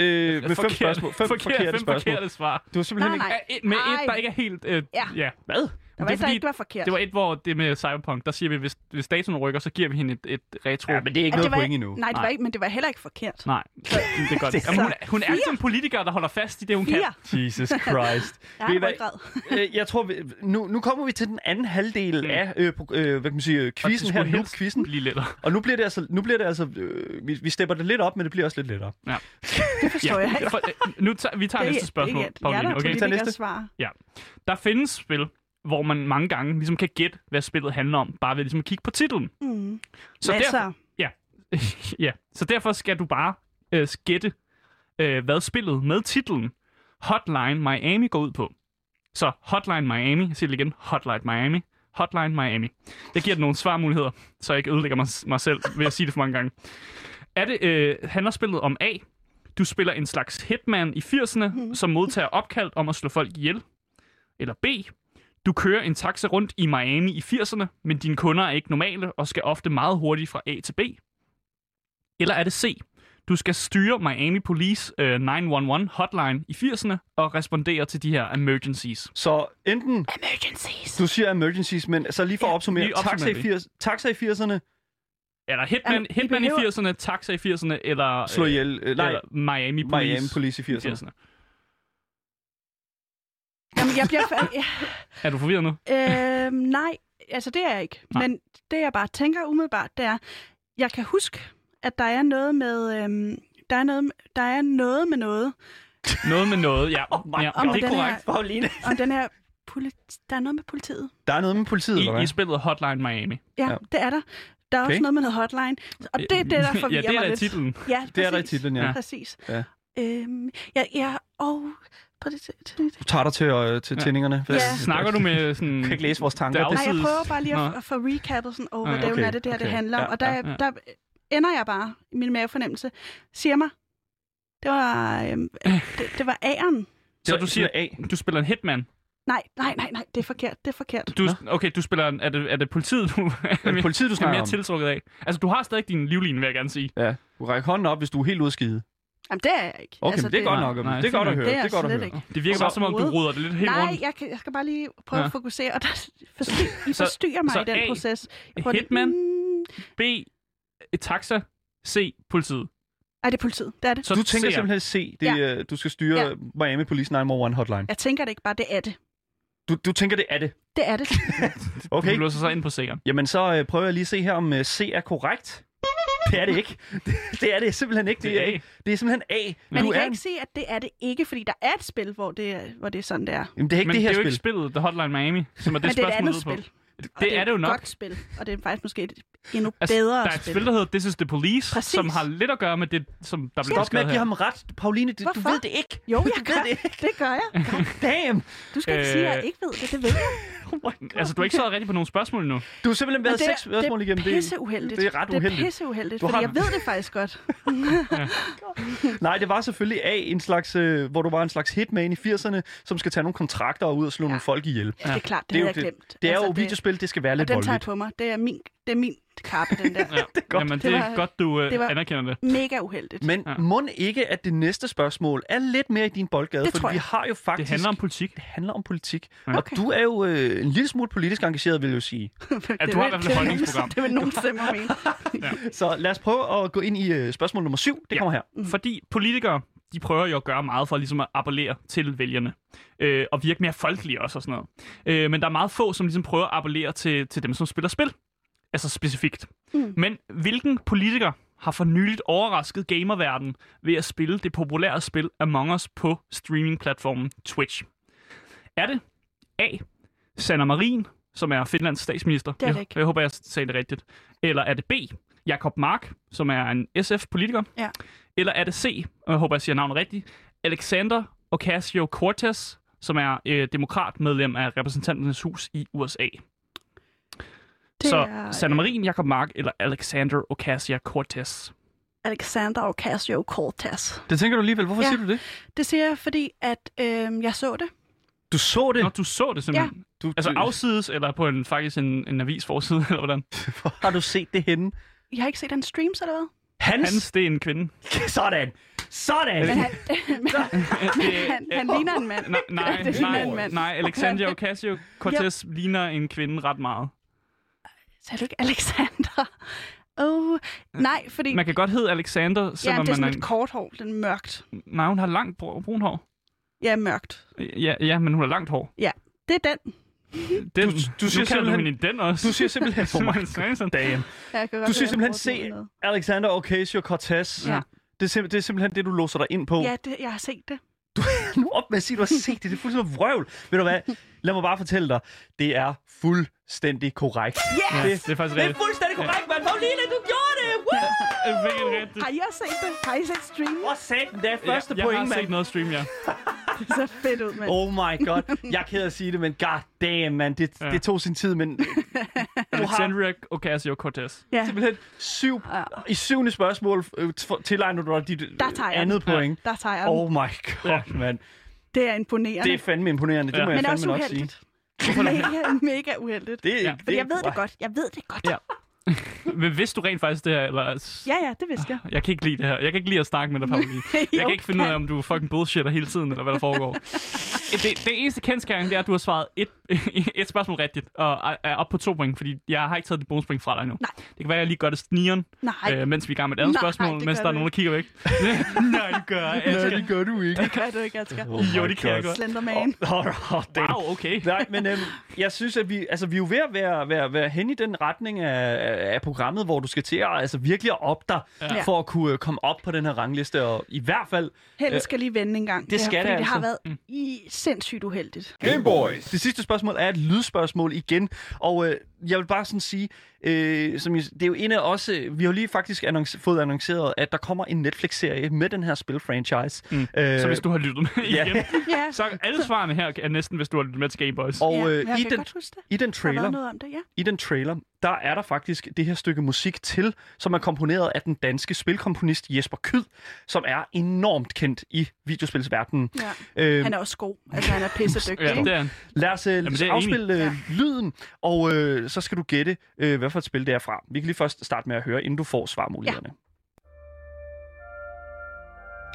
Speaker 3: øh, med fem spørgsmål. Fem
Speaker 2: forkert,
Speaker 3: forkerte, forkerte
Speaker 2: fem
Speaker 3: spørgsmål.
Speaker 2: forkerte svar.
Speaker 3: Du har simpelthen
Speaker 7: Nej,
Speaker 3: ikke...
Speaker 7: nej.
Speaker 2: Er et- Med et, der
Speaker 7: Ej.
Speaker 2: ikke er helt... Øh,
Speaker 7: Ja.
Speaker 2: ja.
Speaker 3: Hvad?
Speaker 7: Der var
Speaker 2: Det er
Speaker 7: et, der
Speaker 2: fordi-
Speaker 7: ikke var forkert.
Speaker 2: Det var et, hvor det med Cyberpunk, der siger vi, hvis, hvis datoen rykker, så giver vi hende et, et retro.
Speaker 3: Ja, men det er ikke
Speaker 7: At
Speaker 3: noget
Speaker 7: var,
Speaker 3: point endnu.
Speaker 7: Nej, Altså, det var
Speaker 2: Nej.
Speaker 7: ikke, men det var heller ikke forkert.
Speaker 2: Nej, det er godt.
Speaker 3: *laughs* Det er
Speaker 2: Jamen, hun, er- hun er altid en politiker, der holder fast i det, hun kan.
Speaker 7: Fire.
Speaker 3: Jesus Christ.
Speaker 7: Jeg
Speaker 3: Ved I
Speaker 7: har
Speaker 3: hvad?
Speaker 7: ryggrad.
Speaker 3: *laughs* Øh, jeg tror, vi, nu, nu kommer vi til den anden halvdel
Speaker 2: Mm.
Speaker 3: mm. af øh, pro- øh, hvad kan man sige,
Speaker 2: Og
Speaker 3: øh,
Speaker 2: det
Speaker 3: quizzen her,
Speaker 2: skulle
Speaker 3: nu
Speaker 2: helst
Speaker 3: quizzen.
Speaker 2: Lige lettere.
Speaker 3: Og nu bliver det altså, nu bliver det altså øh, vi, vi stepper det lidt op, men det bliver også lidt lettere.
Speaker 7: Forstår jeg ikke.
Speaker 2: For, øh, nu tager, vi tager
Speaker 7: Det
Speaker 2: næste
Speaker 7: er
Speaker 2: spørgsmål,
Speaker 7: ikke, at jeg er
Speaker 2: Pauline.
Speaker 7: der
Speaker 2: Okay?
Speaker 3: Tag næste.
Speaker 7: politikers svar.
Speaker 2: Der findes spil, hvor man mange gange ligesom kan gætte, hvad spillet handler om, bare ved ligesom at kigge på titlen.
Speaker 7: Mm.
Speaker 2: Så,
Speaker 7: altså,
Speaker 2: derfor, *laughs* ja, så derfor skal du bare øh, gætte, øh, hvad spillet med titlen Hotline Miami går ud på. Så Hotline Miami, jeg siger det igen, Hotline Miami, Hotline Miami. Jeg giver dig nogle svarmuligheder, så jeg ikke ødelægger mig, mig selv ved at sige det for mange gange. Er det, øh, handler spillet om A, du spiller en slags hitman i 80'erne, som modtager opkald om at slå folk ihjel? Eller B, du kører en taxa rundt i Miami i 80'erne, men dine kunder er ikke normale og skal ofte meget hurtigt fra A til B? Eller er det C? Du skal styre Miami Police øh, 911 hotline i 80'erne og respondere til de her emergencies.
Speaker 3: Så enten,
Speaker 7: emergencies.
Speaker 3: du siger emergencies, men så lige for at opsummere,
Speaker 2: lige opsummerer
Speaker 3: taxa, i
Speaker 2: vi.
Speaker 3: 80, taxa i 80'erne
Speaker 2: Eller Hitman,
Speaker 7: Jamen, I
Speaker 2: Hitman
Speaker 7: behøver-
Speaker 2: i 80'erne, Taxa i 80'erne, eller,
Speaker 3: slår ihjel, øh, nej,
Speaker 2: eller Miami Police,
Speaker 3: Miami Police i
Speaker 2: i
Speaker 3: 80'erne.
Speaker 2: 80'erne.
Speaker 7: Jamen, jeg bliver... fa- Ja,
Speaker 2: Er du forvirret nu?
Speaker 7: øhm, nej, altså det er jeg ikke.
Speaker 2: Nej.
Speaker 7: Men det, jeg bare tænker umiddelbart, det er, jeg kan huske, at der er noget med... Øhm, der er noget, der er noget med noget.
Speaker 2: Noget med noget,
Speaker 7: *laughs*
Speaker 2: ja. Oh ja
Speaker 7: Om
Speaker 2: det er
Speaker 7: den
Speaker 2: korrekt.
Speaker 7: Her, om den her politi- der er noget med politiet.
Speaker 3: Der er noget med politiet, eller
Speaker 2: I,
Speaker 3: hvad?
Speaker 2: I spillet Hotline Miami.
Speaker 7: Ja, ja.
Speaker 3: Ja.
Speaker 7: det er der. Der er okay.
Speaker 3: Okay.
Speaker 7: også noget med noget hotline. Og det er det, der
Speaker 2: *laughs*
Speaker 7: forvirrer
Speaker 2: ja, det er
Speaker 7: mig
Speaker 2: der i
Speaker 7: lidt.
Speaker 2: titlen.
Speaker 7: Ja,
Speaker 3: Det er der i
Speaker 7: præcis.
Speaker 3: titlen, ja.
Speaker 7: Præcis.
Speaker 3: Ja.
Speaker 7: Øhm, ja, ja, og på det. til- til-
Speaker 3: Du tager dig til, øh, til
Speaker 2: Ja.
Speaker 3: tændingerne.
Speaker 7: Ja.
Speaker 2: Snakker du med sådan...
Speaker 3: Jeg kan ikke læse vores tanker.
Speaker 2: Der er
Speaker 3: Det-
Speaker 7: Nej, jeg
Speaker 2: Præcis.
Speaker 7: prøver bare lige at,
Speaker 2: Nå.
Speaker 7: at få recappet sådan over,
Speaker 2: Ja,
Speaker 7: hvad okay,
Speaker 3: okay,
Speaker 7: er det der, okay. det
Speaker 3: okay.
Speaker 7: handler om.
Speaker 3: Ja,
Speaker 7: Og der,
Speaker 2: ja, ja.
Speaker 7: der ender jeg bare, min mavefornemmelse, siger mig, det var, øhm, det, det var æren.
Speaker 2: Så du siger,
Speaker 3: A.
Speaker 2: du spiller en hitman.
Speaker 7: Nej, nej, nej, nej, det er forkert, det er forkert.
Speaker 2: Du, okay, du spiller... en- Er det, er det politiet, *laughs* du
Speaker 3: Er det politiet, du
Speaker 2: er
Speaker 3: snakker
Speaker 2: mere
Speaker 3: om?
Speaker 2: tiltrukket af? Altså, du har stadig din livline, vil jeg gerne sige.
Speaker 3: Ja. Du rækker hånden op, hvis du er helt udskidet.
Speaker 7: Jamen, Altså, det er jeg ikke.
Speaker 3: Okay, altså, men det er godt
Speaker 2: nej,
Speaker 3: nok.
Speaker 2: nej,
Speaker 3: det er godt at høre.
Speaker 7: Det er
Speaker 3: Det er godt at
Speaker 7: slet
Speaker 3: høre.
Speaker 7: ikke.
Speaker 2: Det virker
Speaker 7: Så-
Speaker 2: bare, som om du
Speaker 7: Overhovedet.
Speaker 2: ruder det lidt helt
Speaker 7: Nej,
Speaker 2: rundt.
Speaker 7: jeg, kan, jeg skal bare lige prøve ja.
Speaker 2: Ja.
Speaker 7: at fokusere, og der forstyr, I
Speaker 2: Så-
Speaker 7: forstyrrer mig
Speaker 2: så
Speaker 7: i den
Speaker 2: A,
Speaker 7: proces. Jeg prøver lige-
Speaker 2: Hitman,
Speaker 7: Mm,
Speaker 2: B, et taxa, C, politiet.
Speaker 7: Ej, det er politiet, det er det.
Speaker 2: Så
Speaker 3: Du tænker
Speaker 2: C'er.
Speaker 3: simpelthen se, det,
Speaker 7: Ja.
Speaker 3: øh, du skal styre
Speaker 7: Ja.
Speaker 3: Miami Police 911 hotline.
Speaker 7: Jeg tænker det ikke bare, det er det.
Speaker 3: Du, du tænker, det er det.
Speaker 7: Det er det.
Speaker 2: Okay.
Speaker 3: Okay.
Speaker 2: Du låser sig ind på C'eren.
Speaker 3: Jamen, så øh, prøver jeg lige at se her, om øh, C er korrekt. Det er det ikke. *laughs* Det, det er det simpelthen ikke.
Speaker 2: Det er A.
Speaker 3: det er simpelthen A.
Speaker 7: Men
Speaker 3: du
Speaker 7: I
Speaker 3: er
Speaker 7: kan
Speaker 3: en-
Speaker 7: ikke se, at det er det ikke, fordi der er et spil, hvor det er, hvor det er sådan, det er.
Speaker 3: Jamen, det er ikke
Speaker 2: Men
Speaker 3: det her
Speaker 2: er jo
Speaker 3: spil.
Speaker 2: ikke spillet The Hotline Miami, som er det
Speaker 7: Men det er et
Speaker 2: spørgsmål
Speaker 7: andet
Speaker 2: på.
Speaker 7: spil. Og
Speaker 2: Det er det jo
Speaker 7: et
Speaker 2: nok. Altså,
Speaker 7: godt spil, og det er faktisk måske et endnu bedre
Speaker 2: der er et
Speaker 7: spil.
Speaker 2: spil, der hedder This is the Police,
Speaker 7: Præcis.
Speaker 2: som har lidt at gøre med det, som der blev
Speaker 3: Stop med at
Speaker 2: beskrevet
Speaker 3: give
Speaker 2: her.
Speaker 3: ham ret, Pauline. Det, du
Speaker 7: Hvorfor?
Speaker 3: ved det ikke.
Speaker 7: Jo,
Speaker 3: *laughs* Du
Speaker 7: jeg
Speaker 3: ved
Speaker 7: gør
Speaker 3: det
Speaker 7: det. Det gør jeg.
Speaker 2: *laughs*
Speaker 3: Damn.
Speaker 7: Du skal ikke sige, at jeg
Speaker 2: Øh,
Speaker 7: ikke ved det. Det ved jeg.
Speaker 2: Altså, du har ikke svaret rigtigt på nogle spørgsmål nu.
Speaker 3: Du har simpelthen
Speaker 7: Men
Speaker 3: været
Speaker 7: det,
Speaker 3: seks spørgsmål
Speaker 7: det,
Speaker 3: igennem.
Speaker 7: er pisseuheldigt.
Speaker 3: Det er ret
Speaker 7: Det er
Speaker 3: uheldigt.
Speaker 7: pisseuheldigt,
Speaker 3: Du
Speaker 7: fordi
Speaker 3: har-
Speaker 7: jeg ved det faktisk godt.
Speaker 3: Nej, det var selvfølgelig A, en slags, øh, hvor du var en slags hitman i 80'erne, som skal tage nogle kontrakter ud og slå ja. nogle folk ihjel.
Speaker 7: Ja, det er klart, det,
Speaker 3: Det er jo
Speaker 7: havde jeg
Speaker 3: det.
Speaker 7: glemt.
Speaker 3: Det er
Speaker 7: Altså,
Speaker 3: jo videospil, det skal være
Speaker 7: Og
Speaker 3: lidt
Speaker 7: den tager jeg
Speaker 3: voldeligt.
Speaker 7: på mig. Det er min, det er min kappe,
Speaker 2: *laughs*
Speaker 7: den der.
Speaker 2: det er godt. Jamen, det,
Speaker 7: Det
Speaker 2: det
Speaker 7: var-
Speaker 2: er godt, du
Speaker 7: det
Speaker 2: øh,
Speaker 7: var-
Speaker 2: anerkender det.
Speaker 7: Mega uheldigt.
Speaker 3: Men ja.
Speaker 2: Ja.
Speaker 3: må ikke, at det næste spørgsmål er lidt mere i din boldgade,
Speaker 7: Det
Speaker 3: for
Speaker 7: tror
Speaker 3: vi
Speaker 7: jeg.
Speaker 3: har jo
Speaker 2: Det
Speaker 3: faktisk...
Speaker 2: handler om politik.
Speaker 3: det handler om politik.
Speaker 2: Ja.
Speaker 3: Og du er jo øh, en lille smule politisk engageret, vil jeg jo sige.
Speaker 2: Ja,
Speaker 7: *laughs* Det
Speaker 2: du har i
Speaker 7: vil-
Speaker 2: hvert fald et
Speaker 7: det vil-
Speaker 2: holdningsprogram.
Speaker 7: *laughs* Det vil nogen stemmer
Speaker 2: *laughs*
Speaker 7: mene.
Speaker 3: Så lad os prøve at gå ind i øh, spørgsmål nummer syv. Det
Speaker 2: Ja.
Speaker 3: kommer her.
Speaker 2: Fordi politikere, de prøver jo at gøre meget for ligesom at appellere til vælgerne. Øh, og virke mere folkelige også og sådan noget. Øh, men der er meget få, som ligesom prøver at appellere til, til dem, som spiller spil. Altså specifikt.
Speaker 7: Mm.
Speaker 2: Mm. Men hvilken politiker har for nyligt overrasket gamerverdenen ved at spille det populære spil Among Us på streamingplatformen Twitch? Er det A. Sanna Marin, som er Finlands statsminister.
Speaker 7: Det er det
Speaker 2: jeg,
Speaker 7: ikke.
Speaker 2: jeg håber, jeg sagde det rigtigt. Eller er det B. Jakob Mark, som er en SF-politiker.
Speaker 7: Ja.
Speaker 2: Eller er det C, og jeg håber, jeg siger navnet rigtigt, Alexander Ocasio-Cortez, som er øh, demokrat medlem af repræsentanternes hus i USA.
Speaker 7: Det
Speaker 2: Så
Speaker 7: er øh,
Speaker 2: Sanna Marin, Jakob Mark eller Alexander Ocasio-Cortez.
Speaker 7: Alexander Ocasio-Cortez.
Speaker 3: Det tænker du alligevel. Hvorfor
Speaker 7: Ja.
Speaker 3: siger du det?
Speaker 7: Det siger jeg, fordi at, øh, jeg så det.
Speaker 3: Du så det.
Speaker 2: Nå, du så det simpelthen. Ja.
Speaker 3: Du,
Speaker 2: Altså
Speaker 3: du-
Speaker 2: afsides, eller på en, faktisk en, en avisforside, *laughs* eller hvordan?
Speaker 3: Hvor har du set det henne?
Speaker 7: I har ikke set hans streams, eller hvad?
Speaker 3: Hans.
Speaker 2: Hans, det er en kvinde.
Speaker 3: Sådan. Sådan.
Speaker 7: Men
Speaker 2: *laughs*
Speaker 7: han, *laughs* men han, han, han ligner en mand.
Speaker 2: Nej, nej,
Speaker 7: *laughs* Det ligner en
Speaker 2: nej,
Speaker 7: mand.
Speaker 2: nej, Alexandra Ocasio-Cortez ligner en kvinde ret meget.
Speaker 7: *laughs* Sagde du ikke Alexander? *laughs* Oh, nej, fordi...
Speaker 2: Man kan godt hedde Alexander,
Speaker 7: ja,
Speaker 2: selvom
Speaker 7: det er
Speaker 2: man
Speaker 7: sådan
Speaker 2: er...
Speaker 7: lidt kort hår, den mørkt.
Speaker 2: en- Nej, hun har langt br- brun hår.
Speaker 7: Ja, mørkt.
Speaker 2: Ja, ja, men hun har langt hår.
Speaker 7: Det er den.
Speaker 2: Den,
Speaker 3: Du- du
Speaker 2: nu
Speaker 3: siger
Speaker 2: kalder
Speaker 3: simpelthen-
Speaker 2: du hende en den også. *laughs*
Speaker 3: Du siger simpelthen...
Speaker 2: Simon Svensson.
Speaker 3: Damn.
Speaker 7: Jeg kan godt
Speaker 3: Du
Speaker 7: høre,
Speaker 3: siger simpelhen
Speaker 7: at jeg bruger
Speaker 3: se
Speaker 7: den noget.
Speaker 3: Alexander Ocasio-Cortez.
Speaker 7: Ja.
Speaker 3: Det, er sim- det er simpelthen det, du låser dig ind på.
Speaker 7: Ja, det, jeg har set det.
Speaker 3: nu op med at sige, du har set det. Det er fuldstændig vrøvl. Ved du hvad? Lad mig bare fortælle dig. Det er fuldstændig korrekt.
Speaker 2: Ja, det er faktisk
Speaker 3: Det er
Speaker 2: rigtigt.
Speaker 3: fuldstændig korrekt, mand. Pauline, du gjorde det! Woo!
Speaker 2: Det er virkelig rigtigt.
Speaker 7: Har I også set det? Har I set streamen?
Speaker 3: Hvor satan, det er første
Speaker 2: Jeg, jeg
Speaker 3: point,
Speaker 2: har set
Speaker 3: mand.
Speaker 2: noget stream, ja.
Speaker 7: Det ser fedt ud, mand.
Speaker 3: Oh my god. Jeg er ked af at sige det, men god damn, mand. Det,
Speaker 2: Ja.
Speaker 3: det tog sin tid,
Speaker 2: *laughs*
Speaker 3: men
Speaker 2: Alexandria Ocasio-Cortez.
Speaker 7: Ja,
Speaker 3: simpelthen syv, i syvende spørgsmål øh, for- tilegner du dig dit øh,
Speaker 7: Der tager jeg
Speaker 3: andet point.
Speaker 7: der tager jeg den.
Speaker 3: Oh my god, mand.
Speaker 7: Det er imponerende.
Speaker 3: Det er fandme imponerende. Det
Speaker 2: Ja.
Speaker 3: må jeg
Speaker 7: men også
Speaker 3: fandme nok sige.
Speaker 7: uheldigt. Mega, mega uheldigt.
Speaker 3: Det,
Speaker 2: Ja.
Speaker 7: Fordi jeg ved det godt. Jeg ved det godt.
Speaker 2: Ja. Men vidste du rent faktisk det her, eller...
Speaker 7: Ja, ja, det vidste jeg.
Speaker 3: Ah,
Speaker 2: Jeg kan ikke lide det her. Jeg kan ikke lide at snakke med
Speaker 7: *laughs*
Speaker 2: dig, Pauline. Jeg
Speaker 7: Jo,
Speaker 2: kan ikke finde ud af, om du er fucking bullshitter hele tiden, eller hvad der
Speaker 7: *laughs*
Speaker 2: foregår. Det, det eneste kendskærning, det er, at du har svaret et, *laughs* et spørgsmål rigtigt, og er- er op på to point, fordi jeg har ikke taget dit bonuspoint fra dig endnu.
Speaker 7: Nej.
Speaker 2: Det kan være, at jeg lige gør det snigeren,
Speaker 7: Nej,
Speaker 2: øh, mens vi er i gang med et andet
Speaker 7: Nej,
Speaker 2: spørgsmål,
Speaker 7: det
Speaker 2: mens
Speaker 7: gør
Speaker 2: der er
Speaker 7: du
Speaker 2: nogen, der kigger
Speaker 7: *laughs*
Speaker 2: væk. Nej, det gør jeg.
Speaker 3: Nej,
Speaker 2: Asger.
Speaker 3: det gør du ikke. oh
Speaker 7: det gør du ikke, Asger.
Speaker 2: Jo, det kan jeg godt.
Speaker 3: *laughs*
Speaker 7: Slenderman.
Speaker 3: Åh, oh, damn.
Speaker 2: Wow, okay.
Speaker 3: Nej, men øhm, jeg synes, at vi, altså, vi er jo ved at være, være, være hen i den retning af, af programmet, hvor du skal til at altså, virkelig at op dig, ja.
Speaker 7: Ja.
Speaker 3: for at kunne øh, komme op på den her rangliste, og i hvert fald
Speaker 7: Helen skal lige vende en gang.
Speaker 3: øh, det skal
Speaker 7: her,
Speaker 3: det
Speaker 7: fordi det har
Speaker 3: altså.
Speaker 7: været i sindssygt uheldigt.
Speaker 6: Game Boys.
Speaker 3: Det sidste spørgsmål er et lydspørgsmål igen, og øh, jeg vil bare sådan sige, øh, som jeg, det er jo en af os, øh, vi har jo lige faktisk annonce, fået annonceret, at der kommer en Netflix-serie med den her spil-franchise. Mm. Øh,
Speaker 2: Så hvis du har lyttet med
Speaker 3: Ja.
Speaker 2: igen,
Speaker 7: Ja,
Speaker 2: så alle svarene her er næsten, hvis du har lyttet med til Game Boys.
Speaker 3: og
Speaker 7: ja,
Speaker 3: øh,
Speaker 7: jeg
Speaker 3: i,
Speaker 7: kan
Speaker 3: den,
Speaker 7: godt huske det.
Speaker 3: i den
Speaker 7: Der har
Speaker 3: trailer,
Speaker 7: været noget om det, ja.
Speaker 3: i den trailer, der er der faktisk det her stykke musik til, som er komponeret af den danske spilkomponist Jesper Kyd, som er enormt kendt i videospilsverdenen.
Speaker 7: ja.
Speaker 3: Øh,
Speaker 7: Mm. Han er også god. Altså, han er pissedygtig.
Speaker 2: Ja,
Speaker 7: ikke?
Speaker 2: det er han.
Speaker 3: Lad os øh,
Speaker 2: det er jeg
Speaker 3: afspille øh,
Speaker 7: Ja.
Speaker 3: lyden, og øh, så skal du gætte, øh, hvad for et spil det er fra. Vi kan lige først starte med at høre, inden du får svarmulighederne.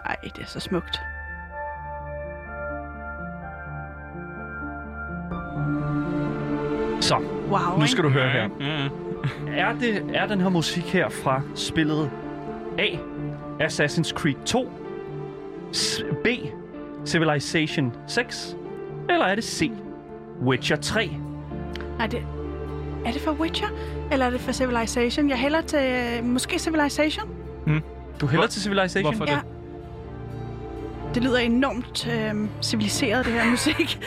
Speaker 7: Ej, det er så smukt.
Speaker 3: Så,
Speaker 7: Wow,
Speaker 3: nu skal du høre her.
Speaker 2: Ja, ja.
Speaker 3: Er, det, er den her musik her fra spillet A. Assassin's Creed 2, S- B. Civilization 6, eller er det C. Witcher 3?
Speaker 7: ikke? Ej, det... Er det for Witcher, eller er det for Civilization? Jeg hælder til... øh, Måske Civilization?
Speaker 3: Du hælder til Civilization?
Speaker 2: Hvorfor det?
Speaker 7: Ja. Det lyder enormt øh, civiliseret, det her *laughs* musik.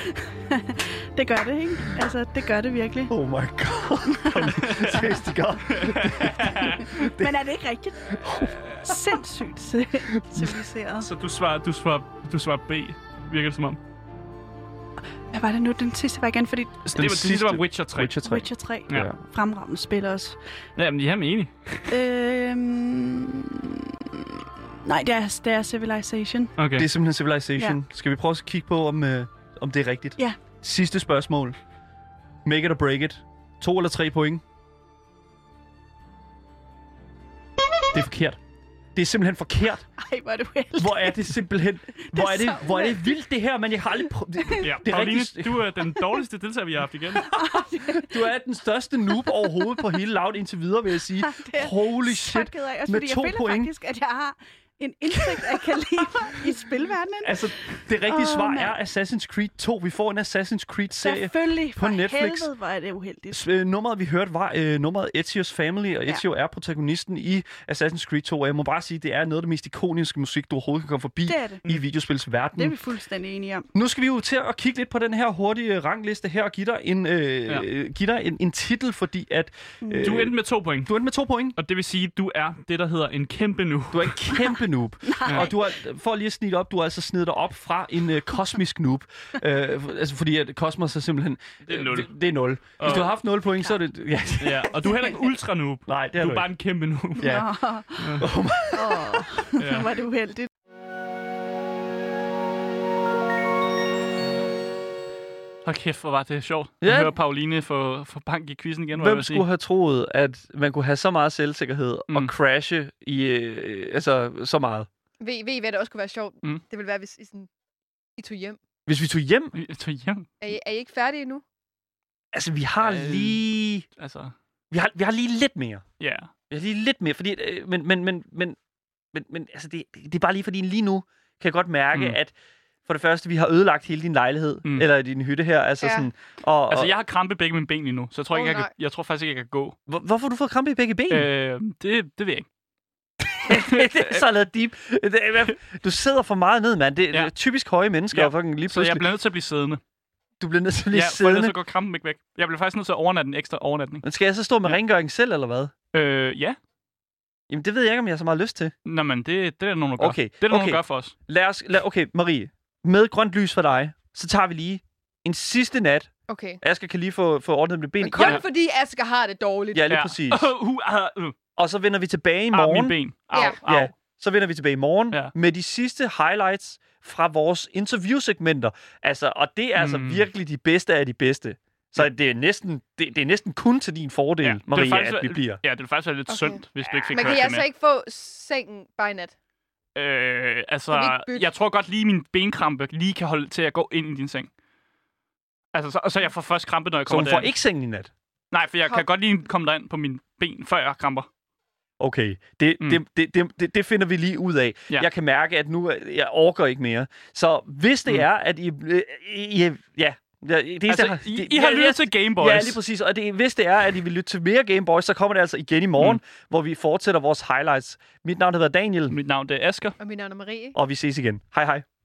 Speaker 7: det gør det, ikke? Altså, det gør det virkelig.
Speaker 3: Oh my god. *laughs* Seriøst, det gør.
Speaker 7: Men er det ikke rigtigt? Sindssygt *laughs* civiliseret.
Speaker 2: Så du svarer, du svarer, du svarer B, virker det som om.
Speaker 7: Hvad var det nu, den sidste var igen? Fordi
Speaker 2: *laughs* Så det, var, det sidste var Witcher 3.
Speaker 3: Witcher 3.
Speaker 7: Witcher 3
Speaker 2: Ja.
Speaker 3: Ja.
Speaker 7: fremragende spil også.
Speaker 2: Ja, men jeg er med enig.
Speaker 7: Øhm... Nej, det er, det er Civilization.
Speaker 2: Okay.
Speaker 3: Det er simpelthen Civilization. Ja. Skal vi prøve at kigge på, om, øh, om det er rigtigt?
Speaker 7: Ja.
Speaker 3: Sidste spørgsmål. Make it or break it. To eller tre point? Det er forkert. Det er simpelthen forkert.
Speaker 7: Ej, hvor er du heldig.
Speaker 3: Hvor er det simpelthen... Hvor er det,
Speaker 7: så
Speaker 3: hvor er det vildt, det her, men jeg har aldrig prøvet... det-
Speaker 2: ja,
Speaker 3: det er
Speaker 2: Pauline,
Speaker 3: rigtig-
Speaker 2: du er den dårligste deltager, vi har haft igen.
Speaker 3: Du er den største noob overhovedet på hele Loud indtil videre, vil jeg
Speaker 7: *laughs*
Speaker 3: sige.
Speaker 7: er
Speaker 3: Holy
Speaker 7: Så
Speaker 3: shit.
Speaker 7: ked af, også
Speaker 3: Med
Speaker 7: fordi jeg
Speaker 3: to
Speaker 7: føler
Speaker 3: point.
Speaker 7: faktisk, at jeg har en indsigt af
Speaker 3: *laughs*
Speaker 7: kaliber i spilverdenen.
Speaker 3: Altså, det rigtige
Speaker 7: Åh,
Speaker 3: svar
Speaker 7: mand.
Speaker 3: er Assassin's Creed 2. Vi får en Assassin's Creed-serie.
Speaker 7: Selvfølgelig.
Speaker 3: på
Speaker 7: For
Speaker 3: Netflix.
Speaker 7: helvede, hvor er det uheldigt.
Speaker 3: S- øh, nummeret, vi hørte, var øh, nummeret Ezio's Family, og Ezio ja. er protagonisten i Assassin's Creed 2, og jeg må bare sige, det er noget af det mest ikoniske musik, du overhovedet kan komme forbi
Speaker 7: Det er det.
Speaker 3: i videospils
Speaker 7: Det er
Speaker 3: verden.
Speaker 7: vi fuldstændig enige om.
Speaker 3: Nu skal vi jo til at kigge lidt på den her hurtige øh, rangliste her, og give dig en, øh,
Speaker 2: Ja.
Speaker 3: ja. give dig en, en titel, fordi at...
Speaker 7: Mm.
Speaker 3: Øh,
Speaker 2: Du endte med to point.
Speaker 3: du endte med to point.
Speaker 2: Og det vil sige, at du er det, der hedder en kæmpe nu.
Speaker 3: Du er en
Speaker 7: *laughs*
Speaker 3: kæmpe noob. og du har, for lige at snide op, du har altså snedet dig op fra en øh, kosmisk
Speaker 7: *laughs*
Speaker 3: noob. Øh, for- altså fordi at kosmos er simpelthen...
Speaker 2: Det er
Speaker 3: øh,
Speaker 2: nul.
Speaker 3: Det, det er nul. Hvis
Speaker 2: Og-
Speaker 3: du har haft 0 point, så er det... Ja, *laughs*
Speaker 2: Ja, og du er heller ikke ultra noob.
Speaker 3: nej, det er
Speaker 2: Du
Speaker 3: du
Speaker 2: er bare en kæmpe noob.
Speaker 3: ikke. Ja.
Speaker 7: Åh,
Speaker 2: *laughs* Ja.
Speaker 7: hvor er det uheldigt.
Speaker 2: Hold kæft, hvor var det sjovt.
Speaker 3: Ja.
Speaker 2: Jeg hører Pauline få, få bank i quizzen igen, hvor jeg
Speaker 3: Hvem
Speaker 2: vil
Speaker 3: skulle
Speaker 2: sige.
Speaker 3: have troet, at man kunne have så meget selvsikkerhed mm. og
Speaker 2: Mm.
Speaker 3: crashe i, øh, altså, så meget?
Speaker 4: Ved, ved I, hvad der også kunne være sjovt?
Speaker 2: Mm.
Speaker 4: Det ville være, hvis I, sådan, I tog hjem.
Speaker 3: Hvis vi tog hjem,
Speaker 2: Jeg tog hjem,
Speaker 4: Er I, er I ikke færdige endnu?
Speaker 3: altså vi har
Speaker 2: Øh.
Speaker 3: lige,
Speaker 2: altså.
Speaker 3: vi har, vi har lige lidt mere.
Speaker 2: Ja.
Speaker 3: Vi har lige lidt mere, fordi, øh, men, men, men, men, men, men altså, det, det er bare lige fordi lige nu kan jeg godt mærke, mm.
Speaker 2: Mm.
Speaker 3: at for det første, vi har ødelagt hele din lejlighed, mm.
Speaker 2: Mm.
Speaker 3: eller din hytte her, altså ja.
Speaker 4: Ja.
Speaker 3: sådan, og, og
Speaker 2: Altså, jeg har krampe i begge mine ben lige nu, så jeg tror,
Speaker 4: Åh,
Speaker 2: ikke, jeg,
Speaker 4: nej.
Speaker 2: kan, jeg tror faktisk ikke, jeg kan gå.
Speaker 3: hvor, hvorfor har du fået krampe i begge ben? Øh.
Speaker 2: Øh, det, det ved jeg ikke.
Speaker 3: så er *laughs* det deep. Det er i
Speaker 2: *laughs*
Speaker 3: hvert fald- Du sidder for meget ned, mand. Det, ja. det
Speaker 2: Ja.
Speaker 3: er typisk høje mennesker,
Speaker 2: Ja.
Speaker 3: ja. og fucking lige
Speaker 2: Så jeg
Speaker 3: pludselig,
Speaker 2: bliver nødt til at blive siddende.
Speaker 3: du bliver nødt til at
Speaker 2: ja,
Speaker 3: blive
Speaker 2: for ellers
Speaker 3: siddende.
Speaker 2: så går krampen ikke væk. Jeg bliver faktisk nødt til at overnatte en ekstra overnatning.
Speaker 3: Men skal jeg så stå med ja. rengøring selv, eller hvad?
Speaker 2: Øh, ja.
Speaker 3: Jamen, det ved jeg ikke, om jeg har så meget lyst til.
Speaker 2: Nå, men det, det er der nogen, der gør.
Speaker 3: Okay,
Speaker 2: Det er der
Speaker 3: okay.
Speaker 2: nogen, der gør for os.
Speaker 3: Lad os, lad, okay, Marie, med grønt lys for dig, så tager vi lige en sidste nat.
Speaker 4: Okay.
Speaker 3: Asger kan lige få, få ordnet med ben.
Speaker 4: Men kun fordi Asger har det dårligt.
Speaker 3: Ja, lige ja.
Speaker 2: *laughs*
Speaker 3: præcis.
Speaker 2: Uh, uh, uh, uh,
Speaker 3: Og så vender vi tilbage
Speaker 2: Arh,
Speaker 3: i
Speaker 2: mine
Speaker 3: morgen.
Speaker 2: ben. Au,
Speaker 4: Ja.
Speaker 2: au.
Speaker 3: Ja, så vender vi tilbage i morgen ja.
Speaker 2: Ja.
Speaker 3: med de sidste highlights fra vores interviewsegmenter. Altså, og det er mm. altså
Speaker 2: Mm.
Speaker 3: virkelig de bedste af de bedste. Så det er næsten, det, det er næsten kun til din fordel, ja.
Speaker 2: det vil
Speaker 3: Marie,
Speaker 2: faktisk
Speaker 3: at vi
Speaker 2: være-
Speaker 3: bliver.
Speaker 2: Ja, det ville faktisk være lidt
Speaker 4: Okay.
Speaker 2: okay. synd, hvis du ikke fik
Speaker 4: Men altså kan
Speaker 2: hørt
Speaker 4: jeg
Speaker 2: det
Speaker 4: så
Speaker 2: med.
Speaker 4: ikke få sengen bare i nat?
Speaker 2: Øh, altså,
Speaker 4: Kan vi ikke bytte?
Speaker 2: jeg tror godt lige, min benkrampe lige kan holde til at gå ind i din seng. Altså, så, og så jeg får først krampe, når jeg
Speaker 3: Så
Speaker 2: kommer
Speaker 3: hun får
Speaker 2: derind.
Speaker 3: ikke sengen i nat.
Speaker 2: Nej, for jeg
Speaker 4: Kom.
Speaker 2: kan godt lige komme derind på mine ben, før jeg kramper.
Speaker 3: Okay, det, mm.
Speaker 2: Mm.
Speaker 3: det, det, det- det, det finder vi lige ud af. Ja.
Speaker 2: Ja.
Speaker 3: Jeg kan mærke, at nu øh, jeg overgår ikke mere. Så hvis det mm.
Speaker 2: Mm.
Speaker 3: er, at I, øh, I, I ja, Ja, det eneste,
Speaker 5: Altså,
Speaker 3: jeg har-
Speaker 5: I,
Speaker 3: det-
Speaker 5: I har
Speaker 3: ja,
Speaker 5: lyttet
Speaker 3: jeg-
Speaker 5: til Game
Speaker 3: Ja,
Speaker 5: Boys.
Speaker 3: lige præcis. Og det, hvis det er, at I vil lytte til mere Game Boys, så kommer det altså igen i morgen, mm. hvor vi
Speaker 5: Mm.
Speaker 3: fortsætter vores highlights. Mit navn hedder Daniel,
Speaker 5: Mit navn det er Asger.
Speaker 4: Og mit navn er Marie.
Speaker 3: og vi ses igen. Hej hej.